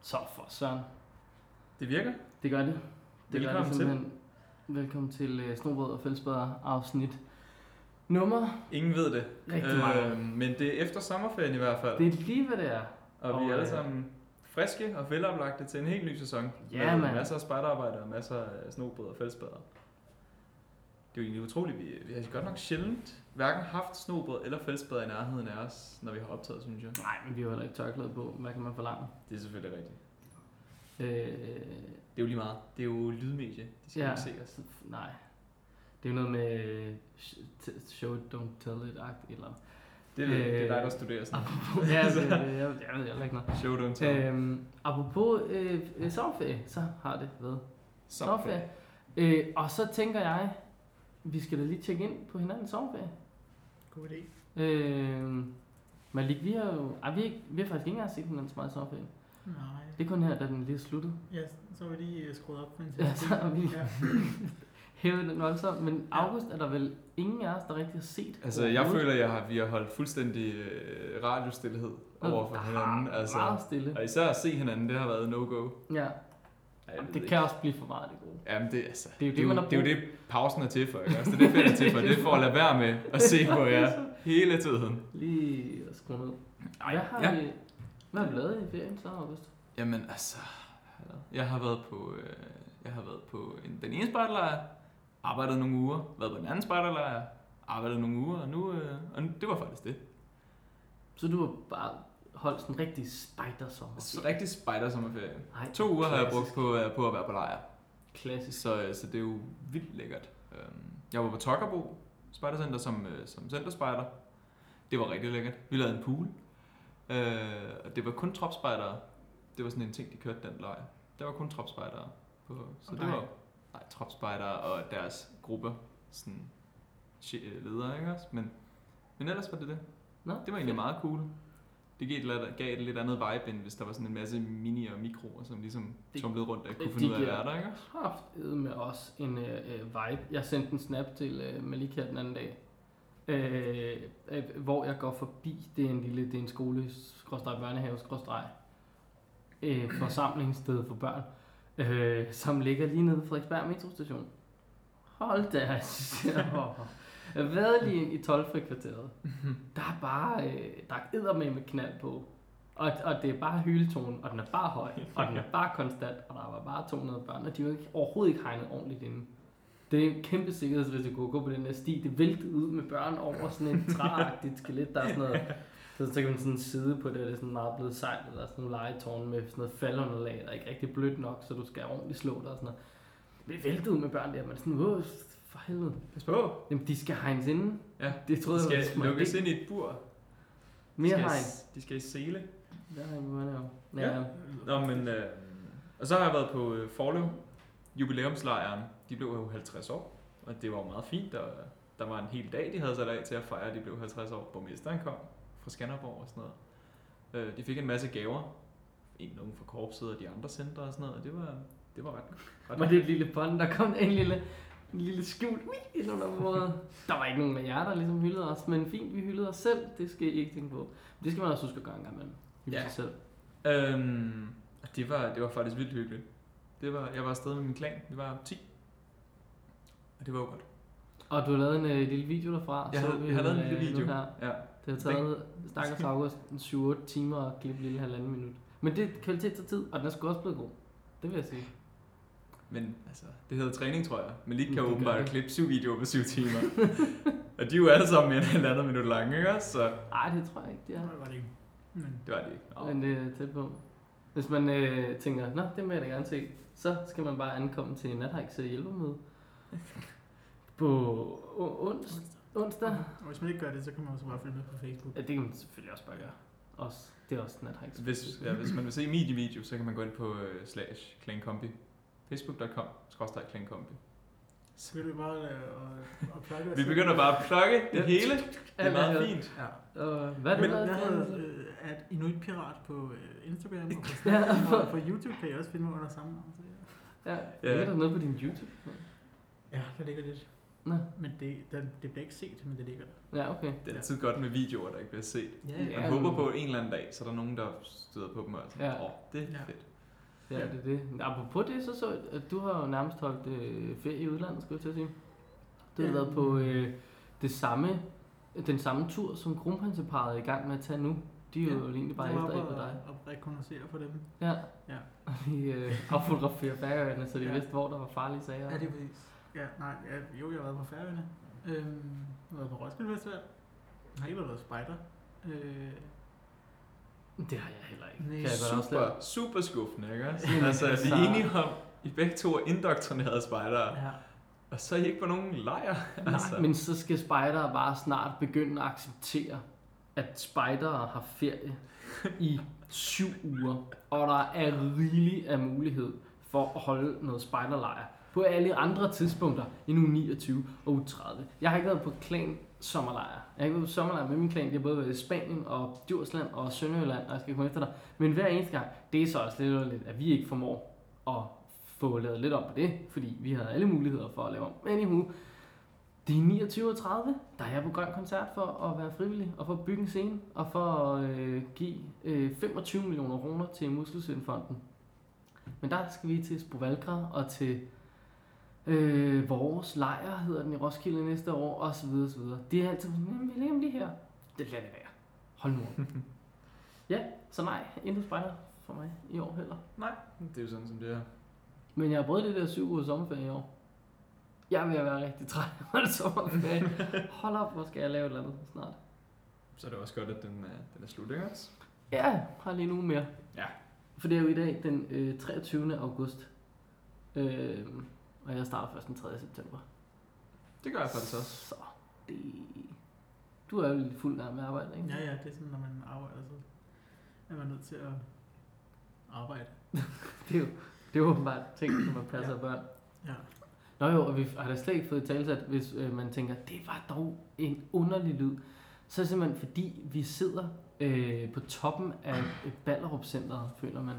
Så for søren. Det virker. Det gør det. Det gør Velkommen det til. simpelthen. Velkommen til uh, Snobrød og Fællesbader afsnit nummer. Ingen ved det. Øhm, Rigtig mange. men det er efter sommerferien i hvert fald. Det er lige hvad det er. og vi og, er alle øh, sammen friske og veloplagte til en helt ny sæson. Ja, med mand. masser af spejderarbejde og masser af snobrød og fællesbader. Det er jo egentlig utroligt. Vi, vi har godt nok sjældent hverken haft snobrød eller fællesbader i nærheden af os, når vi har optaget, synes jeg. Nej, men vi har jo heller ikke tørklæde på. Hvad kan man forlange? Det er selvfølgelig rigtigt. Øh, Det er jo lige meget. Det er jo lydmedie. De skal Ja. ja. ikke se os. så- nej. Det er jo noget med øh, sh- t- show it, don't tell it agt eller Det er, øh, det er Øh, dig, der studerer sådan. ja, det, jeg, jeg ved heller ikke noget. Show don't tell. Øhm, apropos øh, øh, sommerferie, så har det været sommerferie. Øh, og så tænker jeg, vi skal da lige tjekke ind på hinandens sommerferie. God idé. Øh, Malik, vi har jo... Ej, vi, har ikke- vi har faktisk ikke engang set hinanden så meget i sommerferien. Nej, Det er kun her, da den lige er sluttet. ja, så var de øh, skruet op for en Ja, så har vi Ja. hævet den voldsomt. Men august er der vel ingen af os, der rigtig har set Altså, jeg overhovedet. føler, jeg har, vi har holdt fuldstændig øh, radiostillhed over for Ah, hinanden. Altså, Meget stille. og især at se hinanden, det har været no-go. Ja, Ej, jeg ved det ikke. kan også blive for meget det gode. Jamen, det, altså, Det er jo det, det, er man jo, har det, er jo brug- det pausen er til for, ikke? Altså, det er det, fedt er til for. Det er for at lade være med at se på jer hele tiden. Lige at skrue ned. Ej, Hvad har ja. vi... Hvad har vi lavet i ferien så, August? Jamen, altså, jeg har været på, øh, jeg har været på en, den ene spejderlejr, arbejdet nogle uger, været på den anden spejderlejr, arbejdet nogle uger, og nu, øh, og nu, det var faktisk det. Så du har bare holdt sådan en rigtig spider-sommer. Så rigtig spejder sommerferie. Ej, To uger har jeg klassisk. brugt på, øh, på at være på lejr. Klassisk. Så, øh, så det er jo vildt lækkert. Øhm, Jeg var på Tokkerbo Spejdercenter som, øh, som centerspejder. Det var rigtig lækkert. Vi lavede en pool. Øh, Og det var kun tropspejdere. Det var sådan en ting, de kørte den lejr. Der var kun tropspejdere. På, så Og det dig? var nej, tropspejdere og deres grupper. Sådan che- øh, ledere, ikke også? Men, men ellers var det det. Nå, Det var egentlig meget cool. Det gav et, lidt- gav et lidt andet vibe, end hvis der var sådan en masse mini og mikroer, som ligesom Det- tumlede rundt og ikke kunne det finde ud af at giver- være der, ikke? haft med os en øh, øh, vibe. Jeg sendte en snap til øh, Malika den anden dag, øh, øh, hvor jeg går forbi, det er en lille, det er en skole, skråstreg børnehave, skråstreg, øh, forsamlingssted for børn, øh, som ligger lige nede ved Frederiksberg metrostation. Hold da, jeg siger, hvad lige ind i 12 kvarteret. Der er bare, øh, der er med med knald på. Og, og det er bare hyletone, og den er bare høj, og den er bare konstant, og der var bare 200 børn, og de var ikke, overhovedet ikke hegnet ordentligt inde. Det er en kæmpe sikkerhedsrisiko at gå på den der sti. Det væltede ud med børn over sådan et træagtigt skelet, der er sådan noget. Så, så kan man sådan sidde på det, og det er sådan meget blevet sejt, og der er sådan nogle legetårn med sådan noget faldunderlag, der er ikke rigtig blødt nok, så du skal ordentligt slå dig og sådan noget. Men det væltede ud med børn der, man er sådan, åh, for helvede. Pas på! Jamen, de skal hegnes inden. Ja, Det troede de jeg var skal en smart lukkes idé. ind i et bur. Mere de skal, hegn. De skal i sele. Der er ikke meget Ja. Ja. Nå, men, øh, og så har jeg været på øh, Forløb, jubilæumslejren. De blev jo 50 år, og det var jo meget fint. Og øh, der var en hel dag, de havde sat af til at fejre, at de blev 50 år. Borgmesteren kom fra Skanderborg og sådan noget. Øh, de fik en masse gaver. En nogen fra korpset og de andre centre og sådan noget. Og det var, det var ret, ret Var det et lille bånd, der kom en lille, en lille skjult ui, ind under bordet. Der var ikke nogen af jer, der ligesom hyldede os, men fint, vi hyldede os selv. Det skal I ikke tænke på. Men Det skal man også huske at gøre en gang imellem. Hylde Ja. sig selv. Øhm, det, var, det var faktisk vildt hyggeligt. Det var, jeg var afsted med min klan. Vi var 10. Og det var jo godt. Og du har lavet en øh, lille video derfra. Jeg så har, vi jeg har lavet en øh, lille nu video. Her. Ja. Det har taget stakkels august en 7-8 timer at klippe en lille halvanden minut. Men det er kvalitet til tid, og den er sgu også blevet god. Det vil jeg sige. Men altså, det hedder træning, tror jeg. Men lige Mm, Det kan gør åbenbart det. klippe syv videoer på syv timer. og de er jo alle sammen mere end halvandet minut lange, ikke også? Så Ej, det tror jeg ikke, det er. Nej, det var det ikke. Men det var det ikke. Nå. Men øh, tæt på. Hvis man øh, tænker, nå, det vil jeg da gerne se, så skal man bare ankomme til Nathajks hjælpemøde. på o- ons- onsdag. og hvis man ikke gør det, så kan man også bare følge med på Facebook. Ja, det kan man selvfølgelig også bare gøre. Også, det er også Nathajks. Hvis, ja, hvis man vil se min video, så kan man gå ind på uh, slash klangkombi. Facebook.com, skråstrej klangkombi. Så vil vi bare øh, og, og plukke os Vi selv. begynder bare at plukke det hele. Det er Alt meget hedder- fint. Ja. Og hvad er Men det, jeg der havde øh, at Inuit Pirat på øh, Instagram og på, Ja. Snapchat, og på YouTube kan jeg også finde mig under samme navn. så ja. Ja, Ja. ligger der noget på din YouTube? Ja, der ligger lidt. Nå. Men det, der, det bliver ikke set, men det ligger der. Ja, okay. Det er altid godt med videoer, der ikke bliver set. Ja, Man ja. håber på at en eller anden dag, så er der nogen, der støder på dem og er sådan, Ja. åh, det er Ja. fedt. Ja, Ja. det er det. Apropos det, så så jeg, at du har jo nærmest holdt øh, ferie i udlandet, skulle jeg til at sige. Du har Ja. været på øh, det samme, den samme tur, som kronprinseparet er i gang med at tage nu. De er jo Ja. egentlig bare Jeg var efter oppe efter dig. og, og rekognoscere for dem. Ja. Ja. Og de øh, affotografere færøerne, så de Ja. vidste, hvor der var farlige sager. Ja, det er præcis. Ja, nej, ja, jo, jeg har været på Færøerne. Øhm, jeg har været på Roskilde Festival. Jeg har ikke været spejder. Øh, det har jeg heller ikke. Nej. kan jeg godt afsløre. Super, super skuffende, ikke også? Jamen, Altså, altså- vi er enige om, I begge to er indoktrinerede spejdere, ja. og så er I ikke på nogen lejr. Altså. Nej, men så skal spejdere bare snart begynde at acceptere, at spejdere har ferie i syv uger, og der er rigelig af mulighed for at holde noget spejderlejr på alle andre tidspunkter end uge 29 og uge 30. Jeg har ikke været på klan sommerlejr. Jeg har ikke været på sommerlejr med min klan. Jeg har både været i Spanien og Djursland og Sønderjylland, og jeg skal komme efter dig. Men hver eneste gang, det er så også lidt underligt, at vi ikke formår at få lavet lidt om på det, fordi vi havde alle muligheder for at lave om. Men i det er 29 og 30. Der er jeg på Grøn Koncert for at være frivillig og for at bygge en scene og for at øh, give øh, 25 millioner kroner til Muskelsøndfonden. Men der skal vi til Sprovalgra og til øh, vores lejr, hedder den i Roskilde næste år, og så videre, så videre. Det er altid sådan, "Jamen, vi laver lige her. Det lader det være. Hold nu op. ja, så nej, intet spejder for mig i år heller. Det er jo sådan, som det er. Men jeg har prøvet det der syv uger sommerferie i år. Jeg vil være rigtig træt af at holde sommerferie. Hold op, hvor skal jeg lave et eller andet snart. Så er det også godt, at den er, den er slut, ikke også? Ja, har lige nu mere. Ja. For det er jo i dag den øh, 23. august. Øh, og jeg starter først den 3. september. Det gør jeg faktisk også. Så det... Du er jo lidt fuld gang med arbejde, ikke? ja, ja, det er sådan, når man arbejder, så er man nødt til at arbejde. Det er jo, det er jo åbenbart ting, som man passer ja. børn. Ja. Nå jo, og vi har da slet ikke fået talt, at hvis øh, man tænker, det var dog en underlig lyd, så er det simpelthen fordi, vi sidder øh, på toppen af øh, Ballerup-centret, føler man.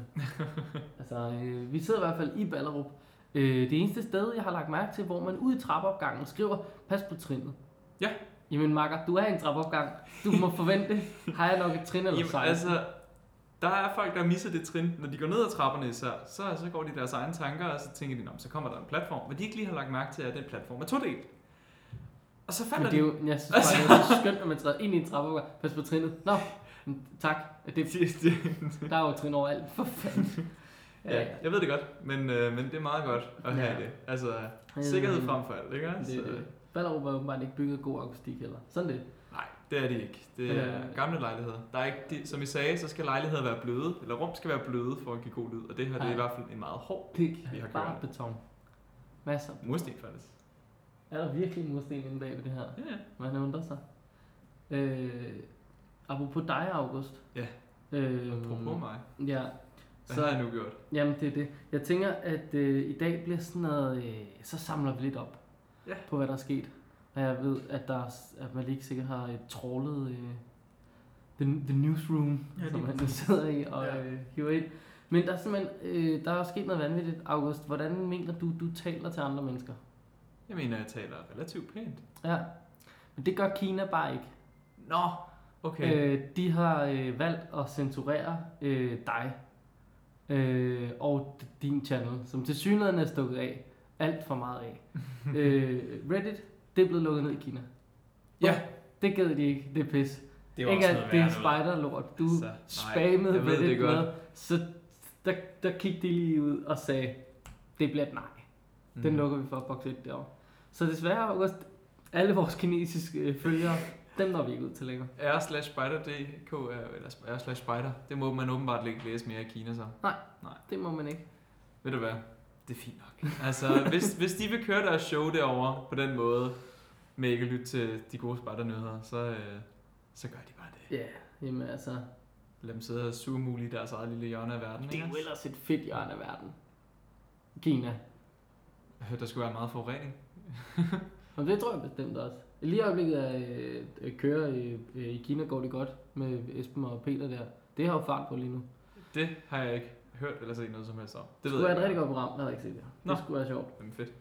altså, øh, vi sidder i hvert fald i Ballerup. Øh, det eneste sted, jeg har lagt mærke til, hvor man ude i trappeopgangen skriver, pas på trinnet. Ja. Jamen makker, du er i en trappeopgang. Du må forvente, har jeg nok et trin eller Jamen, sejl? altså, der er folk, der misser det trin. Når de går ned ad trapperne især, så, så går de i deres egne tanker, og så tænker de, "Nå, men så kommer der en platform. Men de ikke lige har lagt mærke til, at den platform er todelt. Og så Men falder det er de. jo, jeg synes bare, det er så skønt, at man træder ind i en trappeopgang. Pas på trinnet. Nå, tak. Det, Der er jo trin over alt, for fanden. ja, jeg ved det godt, men, øh, men det er meget godt at have Ja. det. Altså, sikkerhed frem for alt, ikke? Øhm, Det, Så, det. Ballerup er åbenbart ikke bygget af god akustik heller. Sådan det. nej, det er det ikke. Det er Øh. gamle lejligheder. Der er ikke, de, som I sagde, så skal lejligheder være bløde, eller rum skal være bløde for at give god lyd. Og det her det er Ja. i hvert fald en meget hård Det Vi har er bare gjort beton. Masser. mursten, faktisk. Er der virkelig mursten inde bag ved det her? Ja, ja. Man undrer sig. Øh, apropos dig, August. Ja. Øh, Apropos mig. Ja. Hvad så, har Så, jeg nu gjort? jamen, det er det. Jeg tænker, at øh, i dag bliver sådan noget... Øh, så samler vi lidt op Ja. på, hvad der er sket. Og jeg ved, at, der, er- at man lige sikkert har øh, trålet øh, the, the newsroom Ja, ja, som lige han nu præcis. sidder i og Ja. øh, hiver ind. Men der er simpelthen øh, der er sket noget vanvittigt, August. Hvordan mener du, du taler til andre mennesker? Jeg mener, jeg taler relativt pænt. Ja. Men det gør Kina bare ikke. Nå, okay. Øh, Øh, de har øh, valgt at censurere øh, dig øh, og d- din channel, som til synligheden er stukket af. Alt for meget af. øh, Reddit, det er blevet lukket ned i Kina. Ja. Det gad de ikke. Det er pis. det ikke at det er spider-lort. Du Altså, nej, spammede jeg ved Reddit det godt. med, så der, der kiggede de lige ud og sagde, det bliver et nej. Mm. Den Mhm. lukker vi for at bokse lidt derovre. Så desværre, August, alle vores kinesiske øh, følgere, dem når vi ikke ud til længere. R slash spider.dk, øh, eller R slash spider, det må man åbenbart ikke læse mere i Kina så. Det må man ikke. Ved du hvad? Det er fint nok. Altså, hvis, hvis de vil køre deres show derovre på den måde, med ikke at lytte til de gode spejdernyheder, så, øh, så gør de bare Ja, det. yeah. jamen altså, Lad dem sidde og suge muligt i deres eget lille hjørne af verden. det er jo ikke? ellers et fedt hjørne af verden. Kina. Jeg hørte, der skulle være meget forurening. Og det tror jeg bestemt også. Lige i øjeblikket er, øh, øh, kører i, øh, i Kina går det godt med Esben og Peter der. Det har jo fart på lige nu. Det har jeg ikke hørt eller set noget som helst om. Det Det skulle ved være jeg et ikke. rigtig godt program, jeg havde ikke set det. Nå. Det skulle være sjovt. Jamen fedt.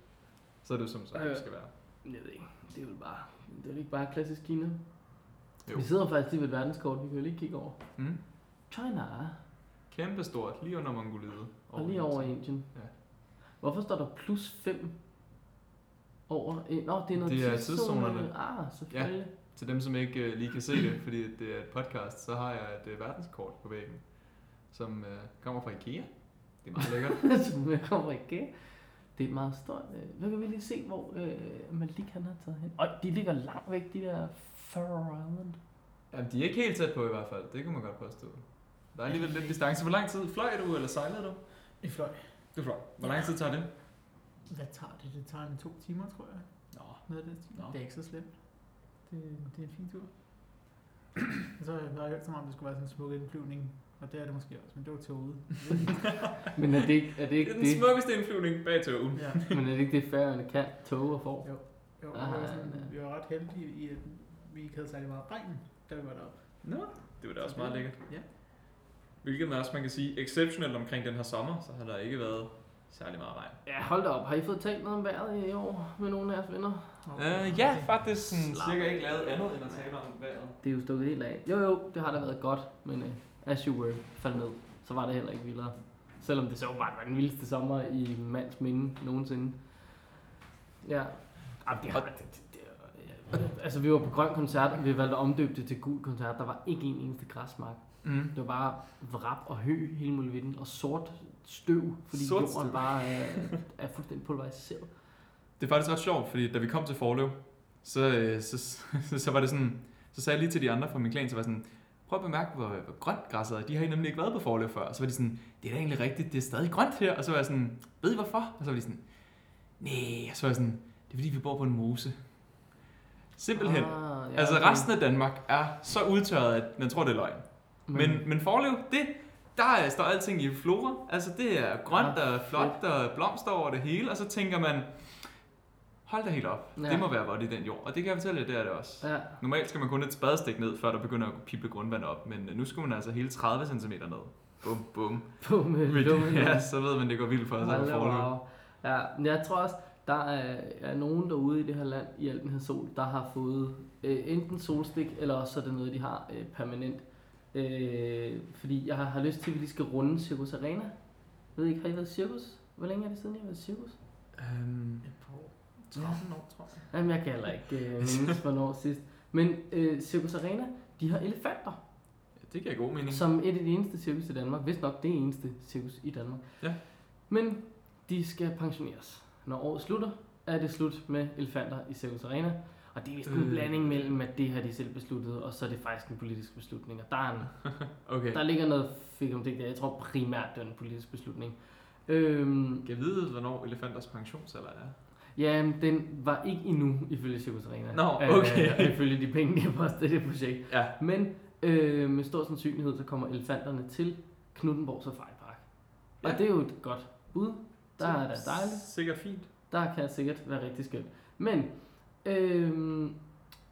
Så er det jo som sagt, Ja, ja. det skal være. Jeg ved ikke. Det er jo bare, det er jo ikke bare klassisk Kina. Jo. Jo. Vi sidder faktisk lige ved et verdenskort, vi kan jo lige kigge over. Mm. China. Kæmpestort, lige under Mongoliet. Og lige over i Indien. Ja. Hvorfor står der plus 5 over? eh, Nå, det er noget Det er tidszone- tidszonerne. Ah, selvfølgelig. Til dem, som ikke øh, lige kan se det, fordi det er et podcast, så har jeg et øh, verdenskort på væggen, som øh, kommer fra Ikea. Det er meget lækkert. Ja. Som jeg kommer ikke. Det er meget stort. øh. Nu kan vi lige se, hvor øh, Malik han har taget hen. Og de ligger langt væk, de der Faroe Island. Jamen, de er ikke helt tæt på i hvert fald. Det kunne man godt påstå. Der er alligevel lidt distance. Hvor lang tid fløj du, eller sejlede du? I fløj. Du fløj. Hvor lang tid tager det? Hvad tager det? Det tager en to timer, tror jeg. Nå. Noget af det. Nå. Det er ikke så slemt. Det, det er en fin tur. Og så har jeg bare hørt så meget, om det skulle være sådan en smuk indflyvning. Og det er det måske også, men det var toget. Men er det ikke er det, Det ikke er det, den smukkeste indflyvning bag togen. ja. men er det, ikke det færøerne kan, tog og får? Jo, jo Ah, ah, var sådan, ja. vi var ret heldige i, at vi ikke havde særlig meget regn, da vi var deroppe. Nå, det var da også Så det- meget lækkert. Ja. Hvilket også, man kan sige, exceptionelt omkring den her sommer, så har der ikke været særlig meget regn. Ja, hold da op. Har I fået talt noget om vejret i år med nogle af jeres venner? Øh, ja, faktisk sådan, Slap cirka af. ikke lavet andet end at tale om vejret. Det er jo stukket helt af. Jo, jo, det har da været godt, men uh, as you were, faldt ned, så var det heller ikke vildere. Selvom det så bare var den vildeste sommer i mands minde nogensinde. Ja. Jamen, det har, det, det, det, ja. altså, vi var på grøn koncert, og vi valgte at omdøbe det til gul koncert. Der var ikke en eneste græsmark. Mm. Det var bare vrap og hø hele muligheden, og sort støv, fordi Sort sort jorden støv. bare er, er fuldstændig pulveriseret. Det er faktisk ret sjovt, fordi da vi kom til Forløb, så, øh, så, så, så var det sådan, så sagde jeg lige til de andre fra min klan, så var jeg sådan, prøv at bemærke, hvor, hvor grønt græsset er. De har I nemlig ikke været på Forløb før. Og så var de sådan, det er da egentlig rigtigt, det er stadig grønt her. Og så var jeg sådan, ved I hvorfor? Og så var de sådan, nej. Og så var jeg sådan, det er fordi, vi bor på en mose. Simpelthen. Ah, Ah, altså okay. resten af Danmark er så udtørret, at man tror, det er løgn. Men, men forlev, det, der øh, står alting i flora. Altså, det er grønt Ja, og flot og blomster over det hele. Og så tænker man, hold da helt op. Ja. Ja. Det må være godt i den jord. Og det kan jeg fortælle jer, det er det også. Ja, Normalt skal man kun et spadestik ned, før der begynder at pible grundvand op. Men øh, nu skal man altså hele 30 cm ned. Bum, bum. på med lungen. ja, så ved man, det går vildt for sig på Hold da forlev. op. Ja, men jeg tror også, der er, er nogen derude i det her land, i al den her sol, der har fået øh, enten solstik, eller også er det noget, de har øh, permanent. Øh, fordi jeg har, har lyst til, at vi lige skal runde Circus Arena. Jeg ved ikke, har I været i cirkus? Hvor længe er det siden, I har været i cirkus? Øhm, Et par år. 13 år, tror jeg. Jamen, jeg kan heller ikke øh, mindes, hvornår sidst. Men øh, Circus Arena, de har elefanter. Ja, det giver god mening. Som et af de eneste cirkus i Danmark. Hvis nok det eneste cirkus i Danmark. Ja. Men de skal pensioneres. Når året slutter, er det slut med elefanter i Cirkus Arena. Og det er vist en Øh. blanding mellem, at det har de selv besluttet, og så er det faktisk en politisk beslutning. Og der, er en, Okay. der ligger noget fik om det der. Jeg tror primært, det er en politisk beslutning. Øhm, Kan jeg vide, hvornår elefanters pensionsalder er? ja, men den var ikke endnu, ifølge Cirkus Arena. Nå, Øh, okay. ifølge de penge, de har postet i det projekt. Ja. Men øh, med stor sandsynlighed, så kommer elefanterne til Knuttenborg Safari Park. Og Ja. det er jo et godt bud. Der er da dejligt. Sikkert fint. Der kan sikkert være rigtig skønt. Men øh,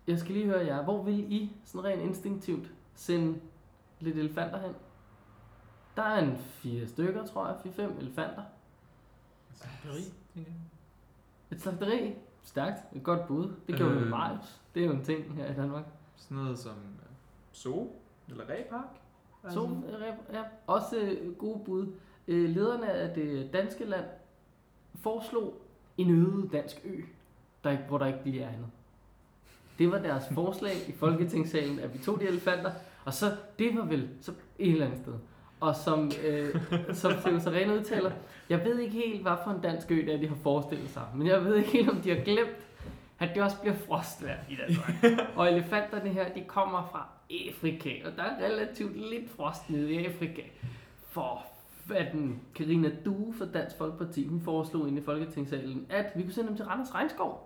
jeg skal lige høre jer. Hvor vil I sådan rent instinktivt sende lidt elefanter hen? Der er en fire stykker, tror jeg. Fire-fem elefanter. Slagteri, tænker jeg. Et slagteri. Stærkt. Et godt bud. Det gjorde øh. vi Øh. med Marius. Det er jo en ting her i Danmark. Sådan noget som øh, zoo eller repark. Altså, To, Altså, ja. Også øh, gode bud. Øh, lederne af det danske land foreslog en øde dansk ø, der ikke, hvor der ikke lige er andet. Det var deres forslag i Folketingssalen, at vi tog de elefanter, og så, det var vel så et eller andet sted. Og som, øh, som Theo Serena udtaler, jeg ved ikke helt, hvad for en dansk ø det er, de har forestillet sig, men jeg ved ikke helt, om de har glemt, at det også bliver frostvejr i Danmark. og elefanterne her, de kommer fra Afrika, og der er relativt lidt frost nede i Afrika. For fanden, Karina Due fra Dansk Folkeparti, hun foreslog inde i Folketingssalen, at vi kunne sende dem til Randers Regnskov.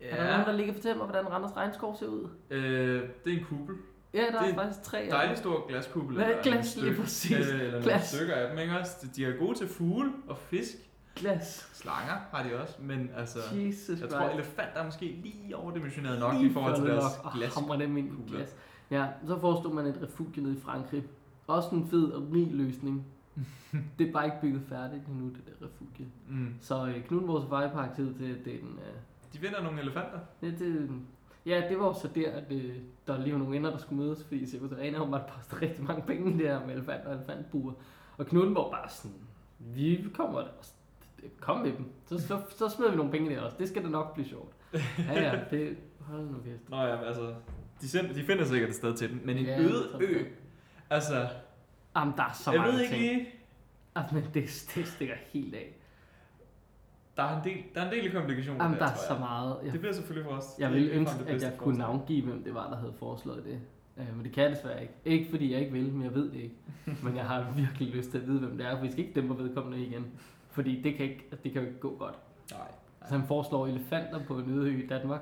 Ja. Er der nogen, der ligger og fortæller mig, hvordan Randers Regnskov ser ud? Øh, det er en kuppel. Ja, der det er Det- faktisk tre af dem. Dejlig stor glaskuppel. Hvad er eller glas nogle lige styk- præcis? Øh, eller Glas. nogle stykker af dem, ikke også? De- De er gode til fugle og fisk. Glas. Slanger har de også, men altså... Jesus Jeg Christ. tror, elefanter er måske lige overdimensioneret nok Lige Ah, i forhold til flot deres nok, og glas. hamrer dem ind i kugler. glas. Ja, så forestod man et refugie nede i Frankrig. Også en fed og rig løsning. det er bare ikke bygget færdigt endnu, det der refugie. Mm. Så øh, Knud vores Safari Park tid til, at det er den... Øh, De vinder nogle elefanter. det, det, Ja, det var jo så der, at øh, der lige var nogle ender, der skulle mødes, fordi Cirkus Arena åbenbart postede rigtig mange penge der med elefant og elefantbuer. Og Knuttenborg bare sådan, vi kommer der også. Kom med dem. Så, så, så smider vi nogle penge der også. Det skal da nok blive sjovt. Ja, ja, det hold nu fest. Nå ja, men altså, de, sind, de finder sikkert et sted til den, men en Ja, øde sådan ø, altså, Jamen, der er så jeg mange ved ikke ting. lige, Jamen, det, det stikker helt af. der er en del, der er en del komplikationer Jamen, der er tror så jeg. meget. Jeg, Det bliver selvfølgelig for os. jeg Det ville er ikke ønske, ligefrem det at bedste jeg kunne forslag. navngive, hvem det var, der havde foreslået det. Øh, men det kan jeg desværre ikke. Ikke fordi jeg ikke vil, men jeg ved det ikke. Men jeg har virkelig lyst til at vide, hvem det er, for vi skal ikke dæmpe vedkommende igen. Fordi det kan, ikke, det kan jo ikke gå godt. Nej. Altså, han foreslår elefanter på en øde ø i Danmark.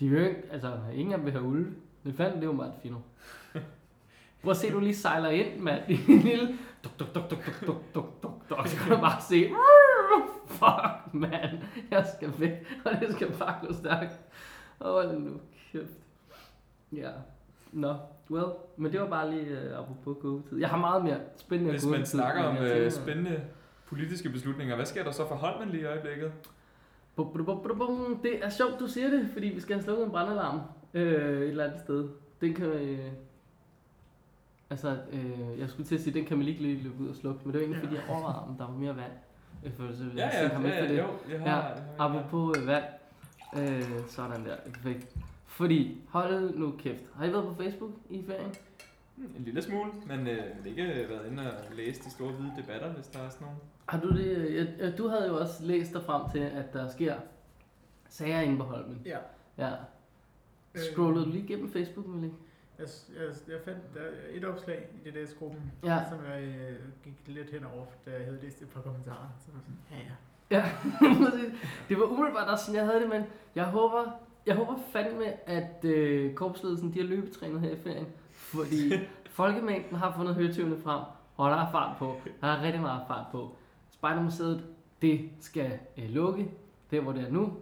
De vil jo ikke, altså, ingen af dem vil have ulve. Elefanten, det er jo meget fino. Prøv at se, du lige sejler ind, mand. I en lille... Duk, duk, duk, duk, duk, duk, duk, duk, duk. Så kan du bare se... Fuck, mand. Jeg skal væk, og det skal bare gå stærkt. Åh, hold nu kæft. Ja. Nå, well. Men det var bare lige uh, apropos covid Jeg har meget mere spændende Hvis man gådetid, snakker men om jeg øh, tænker- spændende politiske beslutninger, hvad sker der så for Holmen lige i øjeblikket? Bum, bum, bum, bum, bum. Det er sjovt, du siger det, fordi vi skal have slukket en brandalarm øh, et eller andet sted. Den kan... Øh, altså, øh, jeg skulle til at sige, den kan man lige lige løbe ud og slukke, men det var egentlig, fordi jeg overvejede, om der var mere vand. Øh, for så ville jeg sende ham efter det. jo, jeg har, Ja, jeg har Apropos øh, vand. Øh, sådan der, perfekt. Fordi, hold nu kæft. Har I været på Facebook i ferien? Hmm, En lille smule, men øh, jeg har ikke været inde og læse de store hvide debatter, hvis der er sådan nogle. Har du det? øh, ja, øh, Du havde jo også læst dig frem til, at der sker sager inde på Holmen. Ja. Ja. Øh, Scrollede du lige igennem Facebook, Malik? Jeg, jeg, jeg fandt der et opslag i DDS-gruppen, Ja. som jeg øh, gik lidt henover, da jeg havde læst et par kommentarer. Så var jeg sådan, ja ja. Ja, præcis. det var umiddelbart også sådan, jeg havde det, men jeg håber, jeg håber fandme, at øh, korpsledelsen de har løbetrænet her i ferien, fordi folkemængden har fundet høretøvende frem, og der er fart på. Der er rigtig meget fart på. Spejdermuseet, det skal øh, lukke, der hvor det er nu.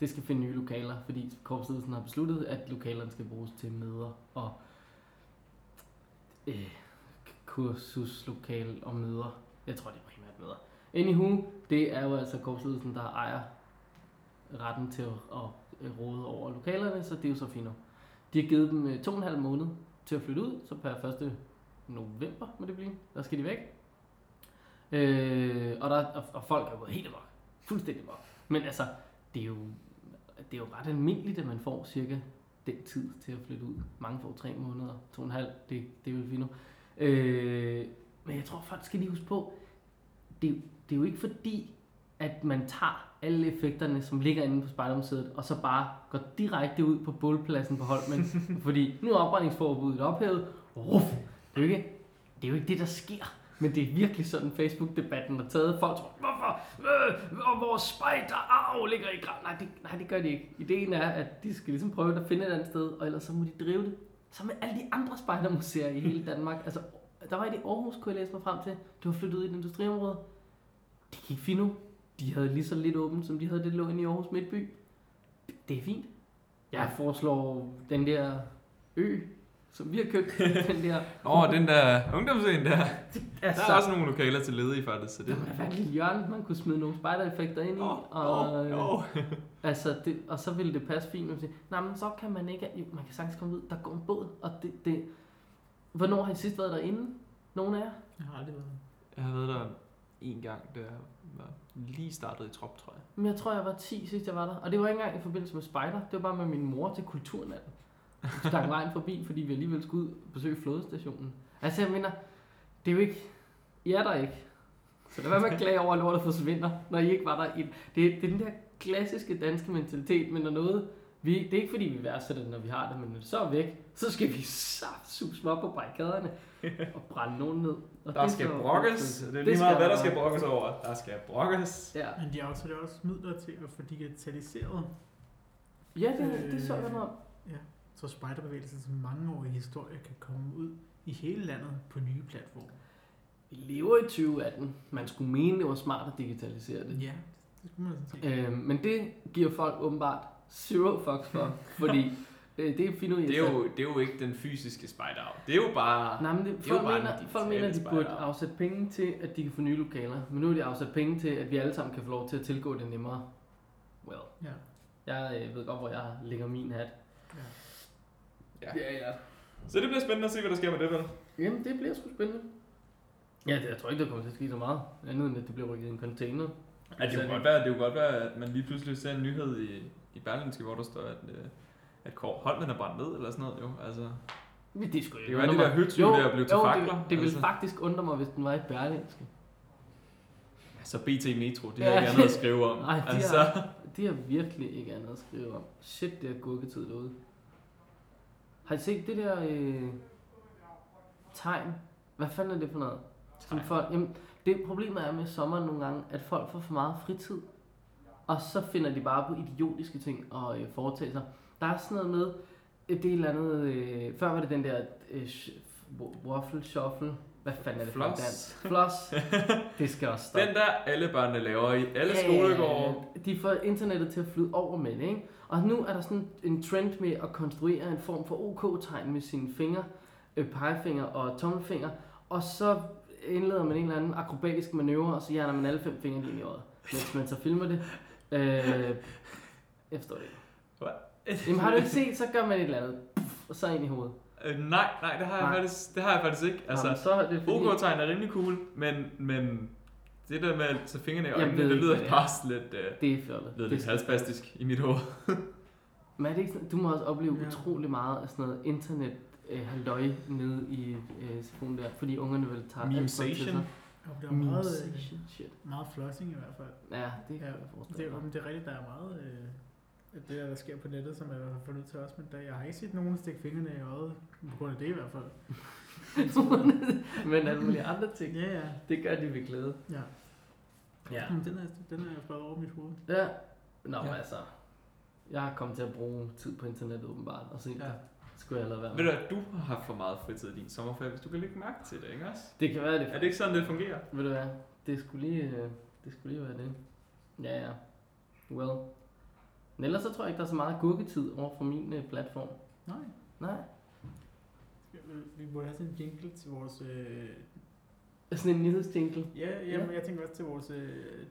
Det skal finde nye lokaler, fordi korpsledelsen har besluttet, at lokalerne skal bruges til møder og øh, kursuslokale og møder. Jeg tror, det er primært møder. Anywho, det er jo altså korpsledelsen, der ejer retten til at, at øh, råde over lokalerne, så det er jo så fint. nok. De har givet dem øh, to og en halv måned til at flytte ud, så per 1. november må det blive, der skal de væk. Øh, og, der, og, og folk er gået helt amok. Fuldstændig amok. Men altså, det er, jo, det er jo ret almindeligt, at man får cirka den tid til at flytte ud. Mange får tre måneder, to og en halv, det, det er jo fint. nok. Øh, men jeg tror, folk skal lige huske på, det, det er jo ikke fordi, at man tager alle effekterne, som ligger inde på Spejdermuseet, og så bare går direkte ud på bålpladsen på Holmen. fordi nu er opbrændingsforbuddet ophævet. Ruff! Det er, jo ikke, det er jo ikke det, der sker. Men det er virkelig sådan, Facebook-debatten har taget. Folk tror, hvorfor? Øh, og vores spejderarv ligger i graven. Nej det, nej, det gør de ikke. Ideen er, at de skal ligesom prøve at finde et andet sted, og ellers så må de drive det. Som med alle de andre spejdermuseer i hele Danmark. Altså, der var et i Aarhus, kunne jeg læse mig frem til. Det var flyttet ud i et industriområde. Det gik fint nu. De havde lige så lidt åbent, som de havde det lå inde i Aarhus Midtby. Det er fint. Jeg foreslår den der ø, som vi har købt. den der... Nå, den der ungdomscene der. Altså, Der er også nogle lokaler til ledige faktisk, så det det var faktisk et lille hjørne, man kunne smide nogle spider-effekter ind i. Åh, og, øh, åh, åh. Altså, det, og så ville det passe fint, man siger, nej, men så kan man ikke, jo, man kan sagtens komme ud, der går en båd, og det, det, hvornår har I sidst været derinde? Nogen af jer? Jeg har aldrig været der. Jeg har været der en gang, da jeg var lige startet i trop, tror jeg. Men jeg tror, jeg var 10 sidst, jeg var der. Og det var ikke engang i forbindelse med spejder. Det var bare med min mor til kulturnatten. Vi stak vejen forbi, fordi vi alligevel skulle ud og besøge flådestationen. Altså, jeg mener, det er jo ikke... I er der ikke. Så lad være med at klage over, at lortet forsvinder, når I ikke var der. Det, det er den der klassiske danske mentalitet, men når noget... Vi, det er ikke fordi, vi værdsætter det, når vi har det, men når det så er væk, så skal vi saftsus op på barrikaderne og brænde nogen ned. Og Der det skal er så- brokkes. Det er lige Det meget, skal hvad der der. skal brokkes over. Der skal brokkes. Ja, Men de afsatte også midler til at få digitaliseret ja det, det så jeg noget om. så spejderbevægelsens mangeårige historie kan komme ud i hele landet på nye platforme. Vi lever i 2018. Man skulle mene, det var smart at digitalisere det. Ja, det skulle man sådan set. Øh, men det giver folk åbenbart zero fucks for, fordi øh, det er fint ud Det er, jo, det er jo ikke den fysiske spejderarv. Det er jo bare... Nej, men det, det er folk, jo bare mener, den folk mener, at de digitale burde spejder. afsætte penge til, at de kan få nye lokaler. Men nu har de afsat penge til, at vi alle sammen kan få lov til at tilgå det nemmere. Well, Ja. jeg øh, ved godt, hvor jeg lægger min hat. Ja. Ja. ja, ja. Så det bliver spændende at se, hvad der sker med det, vel? Jamen, det bliver sgu spændende. Ja, det, jeg tror ikke, der kommer til at ske så meget, andet end at det bliver rykket i en container. Ja, det, kunne godt være, det kunne godt være, at man lige pludselig ser en nyhed i, i Berlinske, hvor der står, at, øh, at Kåre Holmen er brændt ned, eller sådan noget, jo. Altså, Men det skulle Det kan være, det der høtyv der blev til fakler, Det, det ville altså. faktisk undre mig, hvis den var i Berlingske. så BT Metro, de Ja. har ikke andet at skrive om. Nej, de har- altså, Det er virkelig ikke andet at skrive om. Shit, det er gurketid derude. Har I set det der øh, tegn? Hvad fanden er det for noget? Som Tegn. folk, jamen, det problemet er med sommeren nogle gange, at folk får for meget fritid. Og så finder de bare på idiotiske ting at øh, foretage sig. Der er sådan noget med, øh, det er et eller andet... Øh, før var det den der øh, sh- w- waffle shuffle. Hvad fanden er det for en Floss. dans? Floss. det skal også stoppe. den der alle børnene laver i alle skolegårde. Ja, De får internettet til at flyde over med det, ikke? Og nu er der sådan en trend med at konstruere en form for OK-tegn med sine fingre, øh, pegefinger og tommelfinger, og så indleder man en eller anden akrobatisk manøvre, og så hjerner man alle fem fingre ind i øjet, mens man så filmer det. Øh, jeg forstår det ikke. Hvad? Jamen har du ikke set, så gør man et eller andet, puff, og så ind i hovedet. Øh, nej, nej, det har, jeg Nej. faktisk, det har jeg faktisk ikke. Altså, Jamen, så er det fordi, OK-tegn er rimelig cool, men, men det der med at tage fingrene i Jeg øjnene, ved det ikke, hvad lyder det bare sådan lidt, øh, det er fjollet. Det ved er lidt halspastisk i mit hoved. Men er det ikke sådan, du må også opleve ja. Ja. utrolig meget af sådan noget internet øh, halløj nede i øh, telefonen der, fordi ungerne vil tage alt for til sig. Memesation. Jo, der er meget, øh, Memesation. Shit. meget flossing i hvert fald. Ja, det kan Ja, jeg Det, forestille er- mig. men det er rigtigt, der er meget øh, af det, der, der sker på nettet, som jeg i hvert fald får nødt til også. Men der, jeg har ikke set nogen stikke fingrene i øjet, på grund af det i hvert fald. Men alle mulige andre ting, Ja, ja. det gør de ved glæde. ja. Ja. Jamen, Den, er, den er fløjet over mit hoved. Ja. Nå, ja. Ja. altså. Jeg har kommet til at bruge tid på internettet åbenbart, og så ja. Ja. skulle jeg lade være Ved du, med. at du har haft for meget fritid i din sommerferie, hvis du kan lægge mærke til det, ikke også? Det kan være det. Er det ikke sådan, det fungerer? Ved du hvad, det skulle lige, øh, det skulle lige være det. Ja, ja. Well. Men ellers så tror jeg ikke, der er så meget gurketid over for min øh, platform. Nej. Nej. Vi- Vi burde have sådan en jingle til vores... Øh, Sådan en nyhedsjingle. ja, ja, men jeg tænker også til vores øh,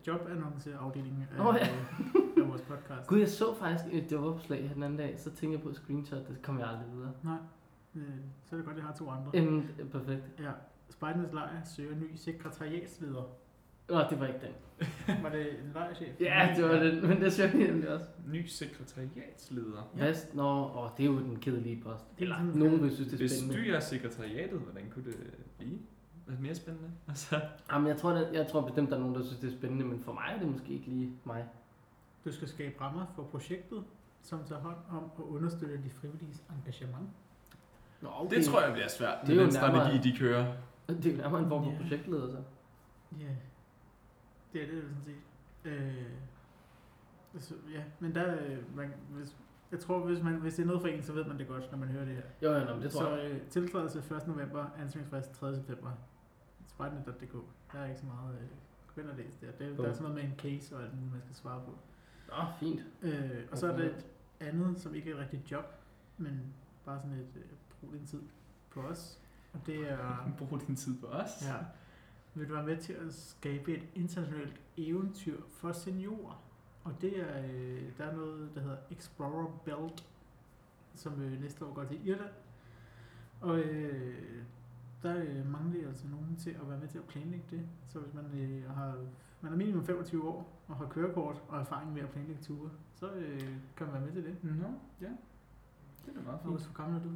jobannonceafdeling af, Nå, oh, ja. ja. af vores podcast. Gud, jeg så faktisk et jobopslag her den anden dag, så tænkte jeg på et screenshot, det kom jeg aldrig videre. Nej, øh, så er det godt, at jeg har to andre. Jamen, øh, perfekt. Ja. Spejdernes lejr søger ny sekretariatsleder. Nå, det var ikke den. Var det en lejrchef? Ja, det var den, men det søgte jeg nemlig også. Ny sekretariatsleder. Ja. Vest, nå, åh, det er jo den kedelige post. Det er Eller, sådan- nogen vil synes, det er Hvis spændende. styrer sekretariatet, hvordan kunne det blive? Hvad er mere spændende? Altså, Jamen, jeg tror, der, jeg tror bestemt, der er nogen, der synes, det er spændende, men for mig er det måske ikke lige mig. Du skal skabe rammer for projektet, som tager hånd om at understøtte de frivilliges engagement. Nå, okay. det tror jeg bliver svært. Det er Det er den jo nærmere- strategi, de kører. Det er jo nærmere en form for Ja. projektleder, så. Ja, det er det jo sådan set. Øh, altså, ja, men der, øh, man, hvis, jeg tror, hvis, man, hvis det er noget for en, så ved man det godt, når man hører det her. Jo, jo, nå, men det tror så jeg. øh, tiltrædelse 1. november, ansøgningsfrist 3. september. Spejtnet.dk. Der er ikke så meget øh, kvinderlæs der. Det, der er sådan noget med en case og alt muligt, man skal svare på. Nå, fint. Øh, og så er det et andet, som ikke er et rigtigt job, men bare sådan et øh, brug din tid på os. Og det er, Brug din tid på os. ja, vil du være med til at skabe et internationalt eventyr for seniorer? Og det er, øh, der er noget, der hedder Explorer Belt, som øh, næste år går til Irland. Og øh, der øh, mangler altså nogen til at være med til at planlægge det. Så hvis man, øh, har, man er minimum 25 år og har kørekort og erfaring med at planlægge ture, så øh, kan man være med til det. Nå, ja. Det er da meget Hvor, fint. hvor gammel er du?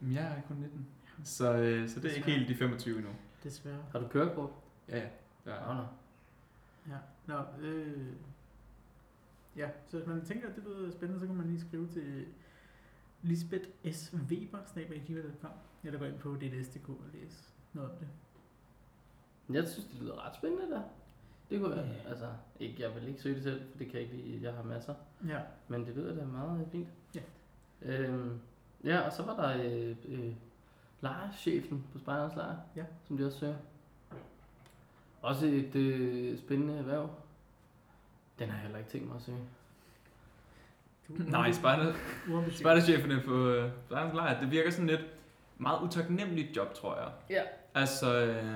Jamen, jeg er kun 19. Så, øh, så det er ikke helt de 25 endnu. Desværre. Har du kørekort? Ja, ja. Nå, ja. nå. Ja. Nå, øh, ja, så hvis man tænker, at det lyder spændende, så kan man lige skrive til Lisbeth S. Weber, snabelagiva.com, eller gå ind på DDS.dk og læse noget om det. Men Jeg synes, det lyder ret spændende, der. Det kunne være, Ja. altså, ikke, jeg vil ikke søge det selv, for det kan jeg ikke lide, jeg har masser. Ja, Men det lyder da meget øh, fint. Ja. Øhm, ja, og så var der øh, øh, lejerchefen på Spejderens Lejer, Ja. som de også søger. Også et øh, spændende erhverv. Den har jeg heller ikke tænkt mig at søge. du Nej, spejder, uambitiøs. spejdercheferne på øh, Lejrens Lejr, det virker sådan lidt meget utaknemmeligt job, tror jeg. Ja. Altså, øh,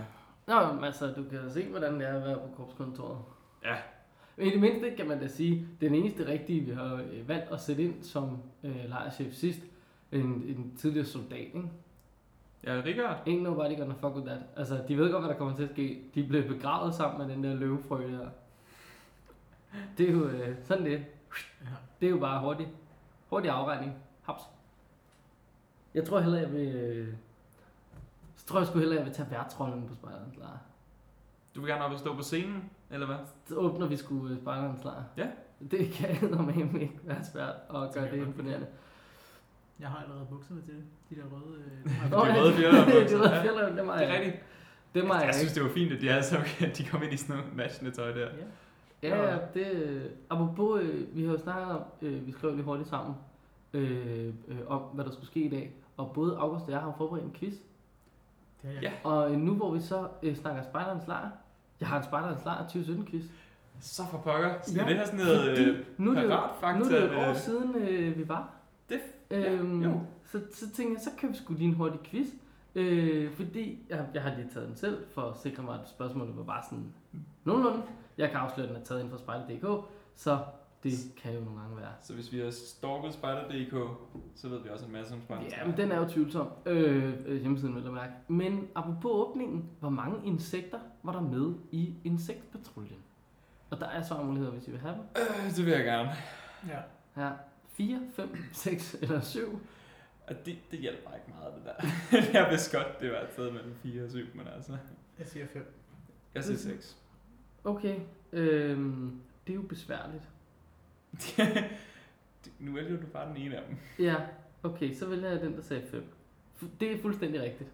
Nå, men altså, du kan se, hvordan det er at være på korpskontoret. Ja. Men i det mindste kan man da sige, den eneste rigtige, vi har øh, valgt at sætte ind som øh, lejerchef sidst, en, en tidligere soldat, ikke? Ja, Richard. Ain't nobody gonna fuck with that. Altså, de ved godt, hvad der kommer til at ske. De blev begravet sammen med den der løvefrø der. Det er jo øh, sådan det. er. Ja. Det er jo bare hurtigt. Hurtig afregning. Haps. Jeg tror heller, jeg vil... Øh, så tror jeg sgu heller, jeg vil tage værtrollen på spejderens lejr. Du vil gerne op og stå på scenen, eller hvad? Så åbner vi sgu øh, spejderens lejr. Ja. Det kan eddermame ikke være svært at gøre jeg det godt. imponerende. Jeg har allerede bukserne til det. De der røde... Øh, Nå, Nå, ja, røde fjollerøde det- bukser, Det røde ja. fjollerøde, dem har Det er jeg. rigtigt. Altså, Dem har jeg, jeg jeg synes, ikke. det var fint, at de, alle sammen, at de kom ind i sådan noget matchende tøj der. ja. Ja, ja, det... øh, Apropos, øh, vi har jo snakket om, øh, vi skrev lige hurtigt sammen, øh, øh, om hvad der skulle ske i dag. Og både August og jeg har jo forberedt en quiz. Det har jeg. Ja. Og øh, nu hvor vi så øh, snakker spejderens lejr, jeg har en spejderens lejr 2017 quiz. Så for pokker. Så Ja, det er sådan noget fordi øh, nu er det jo- piratfakta, Nu er det jo et år øh, siden, øh, vi var. Det- ja, øhm, jo. så, så tænkte jeg, så køber vi sgu lige en hurtig quiz. Øh, fordi jeg, jeg har lige taget den selv, for at sikre mig, at spørgsmålet var bare sådan nogenlunde. Jeg kan afsløre, at den er taget ind fra spejlet.dk, så det kan jo nogle gange være. Så hvis vi har stalket Spider.dk, så ved vi også en masse om Spider. Ja, men den er jo tvivlsom. Øh, øh, hjemmesiden vil jeg mærke. Men apropos åbningen, hvor mange insekter var der med i insektpatruljen? Og der er svarmuligheder, hvis I vil have dem. Øh, det vil jeg gerne. ja. Her 4, 5, 6 eller 7. Og det, det hjælper ikke meget, det der. jeg vidste godt, det var et sted mellem 4 og 7, men altså... Jeg siger fem. Jeg siger 6. Okay, øhm, det er jo besværligt. nu vælger du bare den ene af dem. Ja, okay, så vælger jeg den, der sagde 5. Det er fuldstændig rigtigt.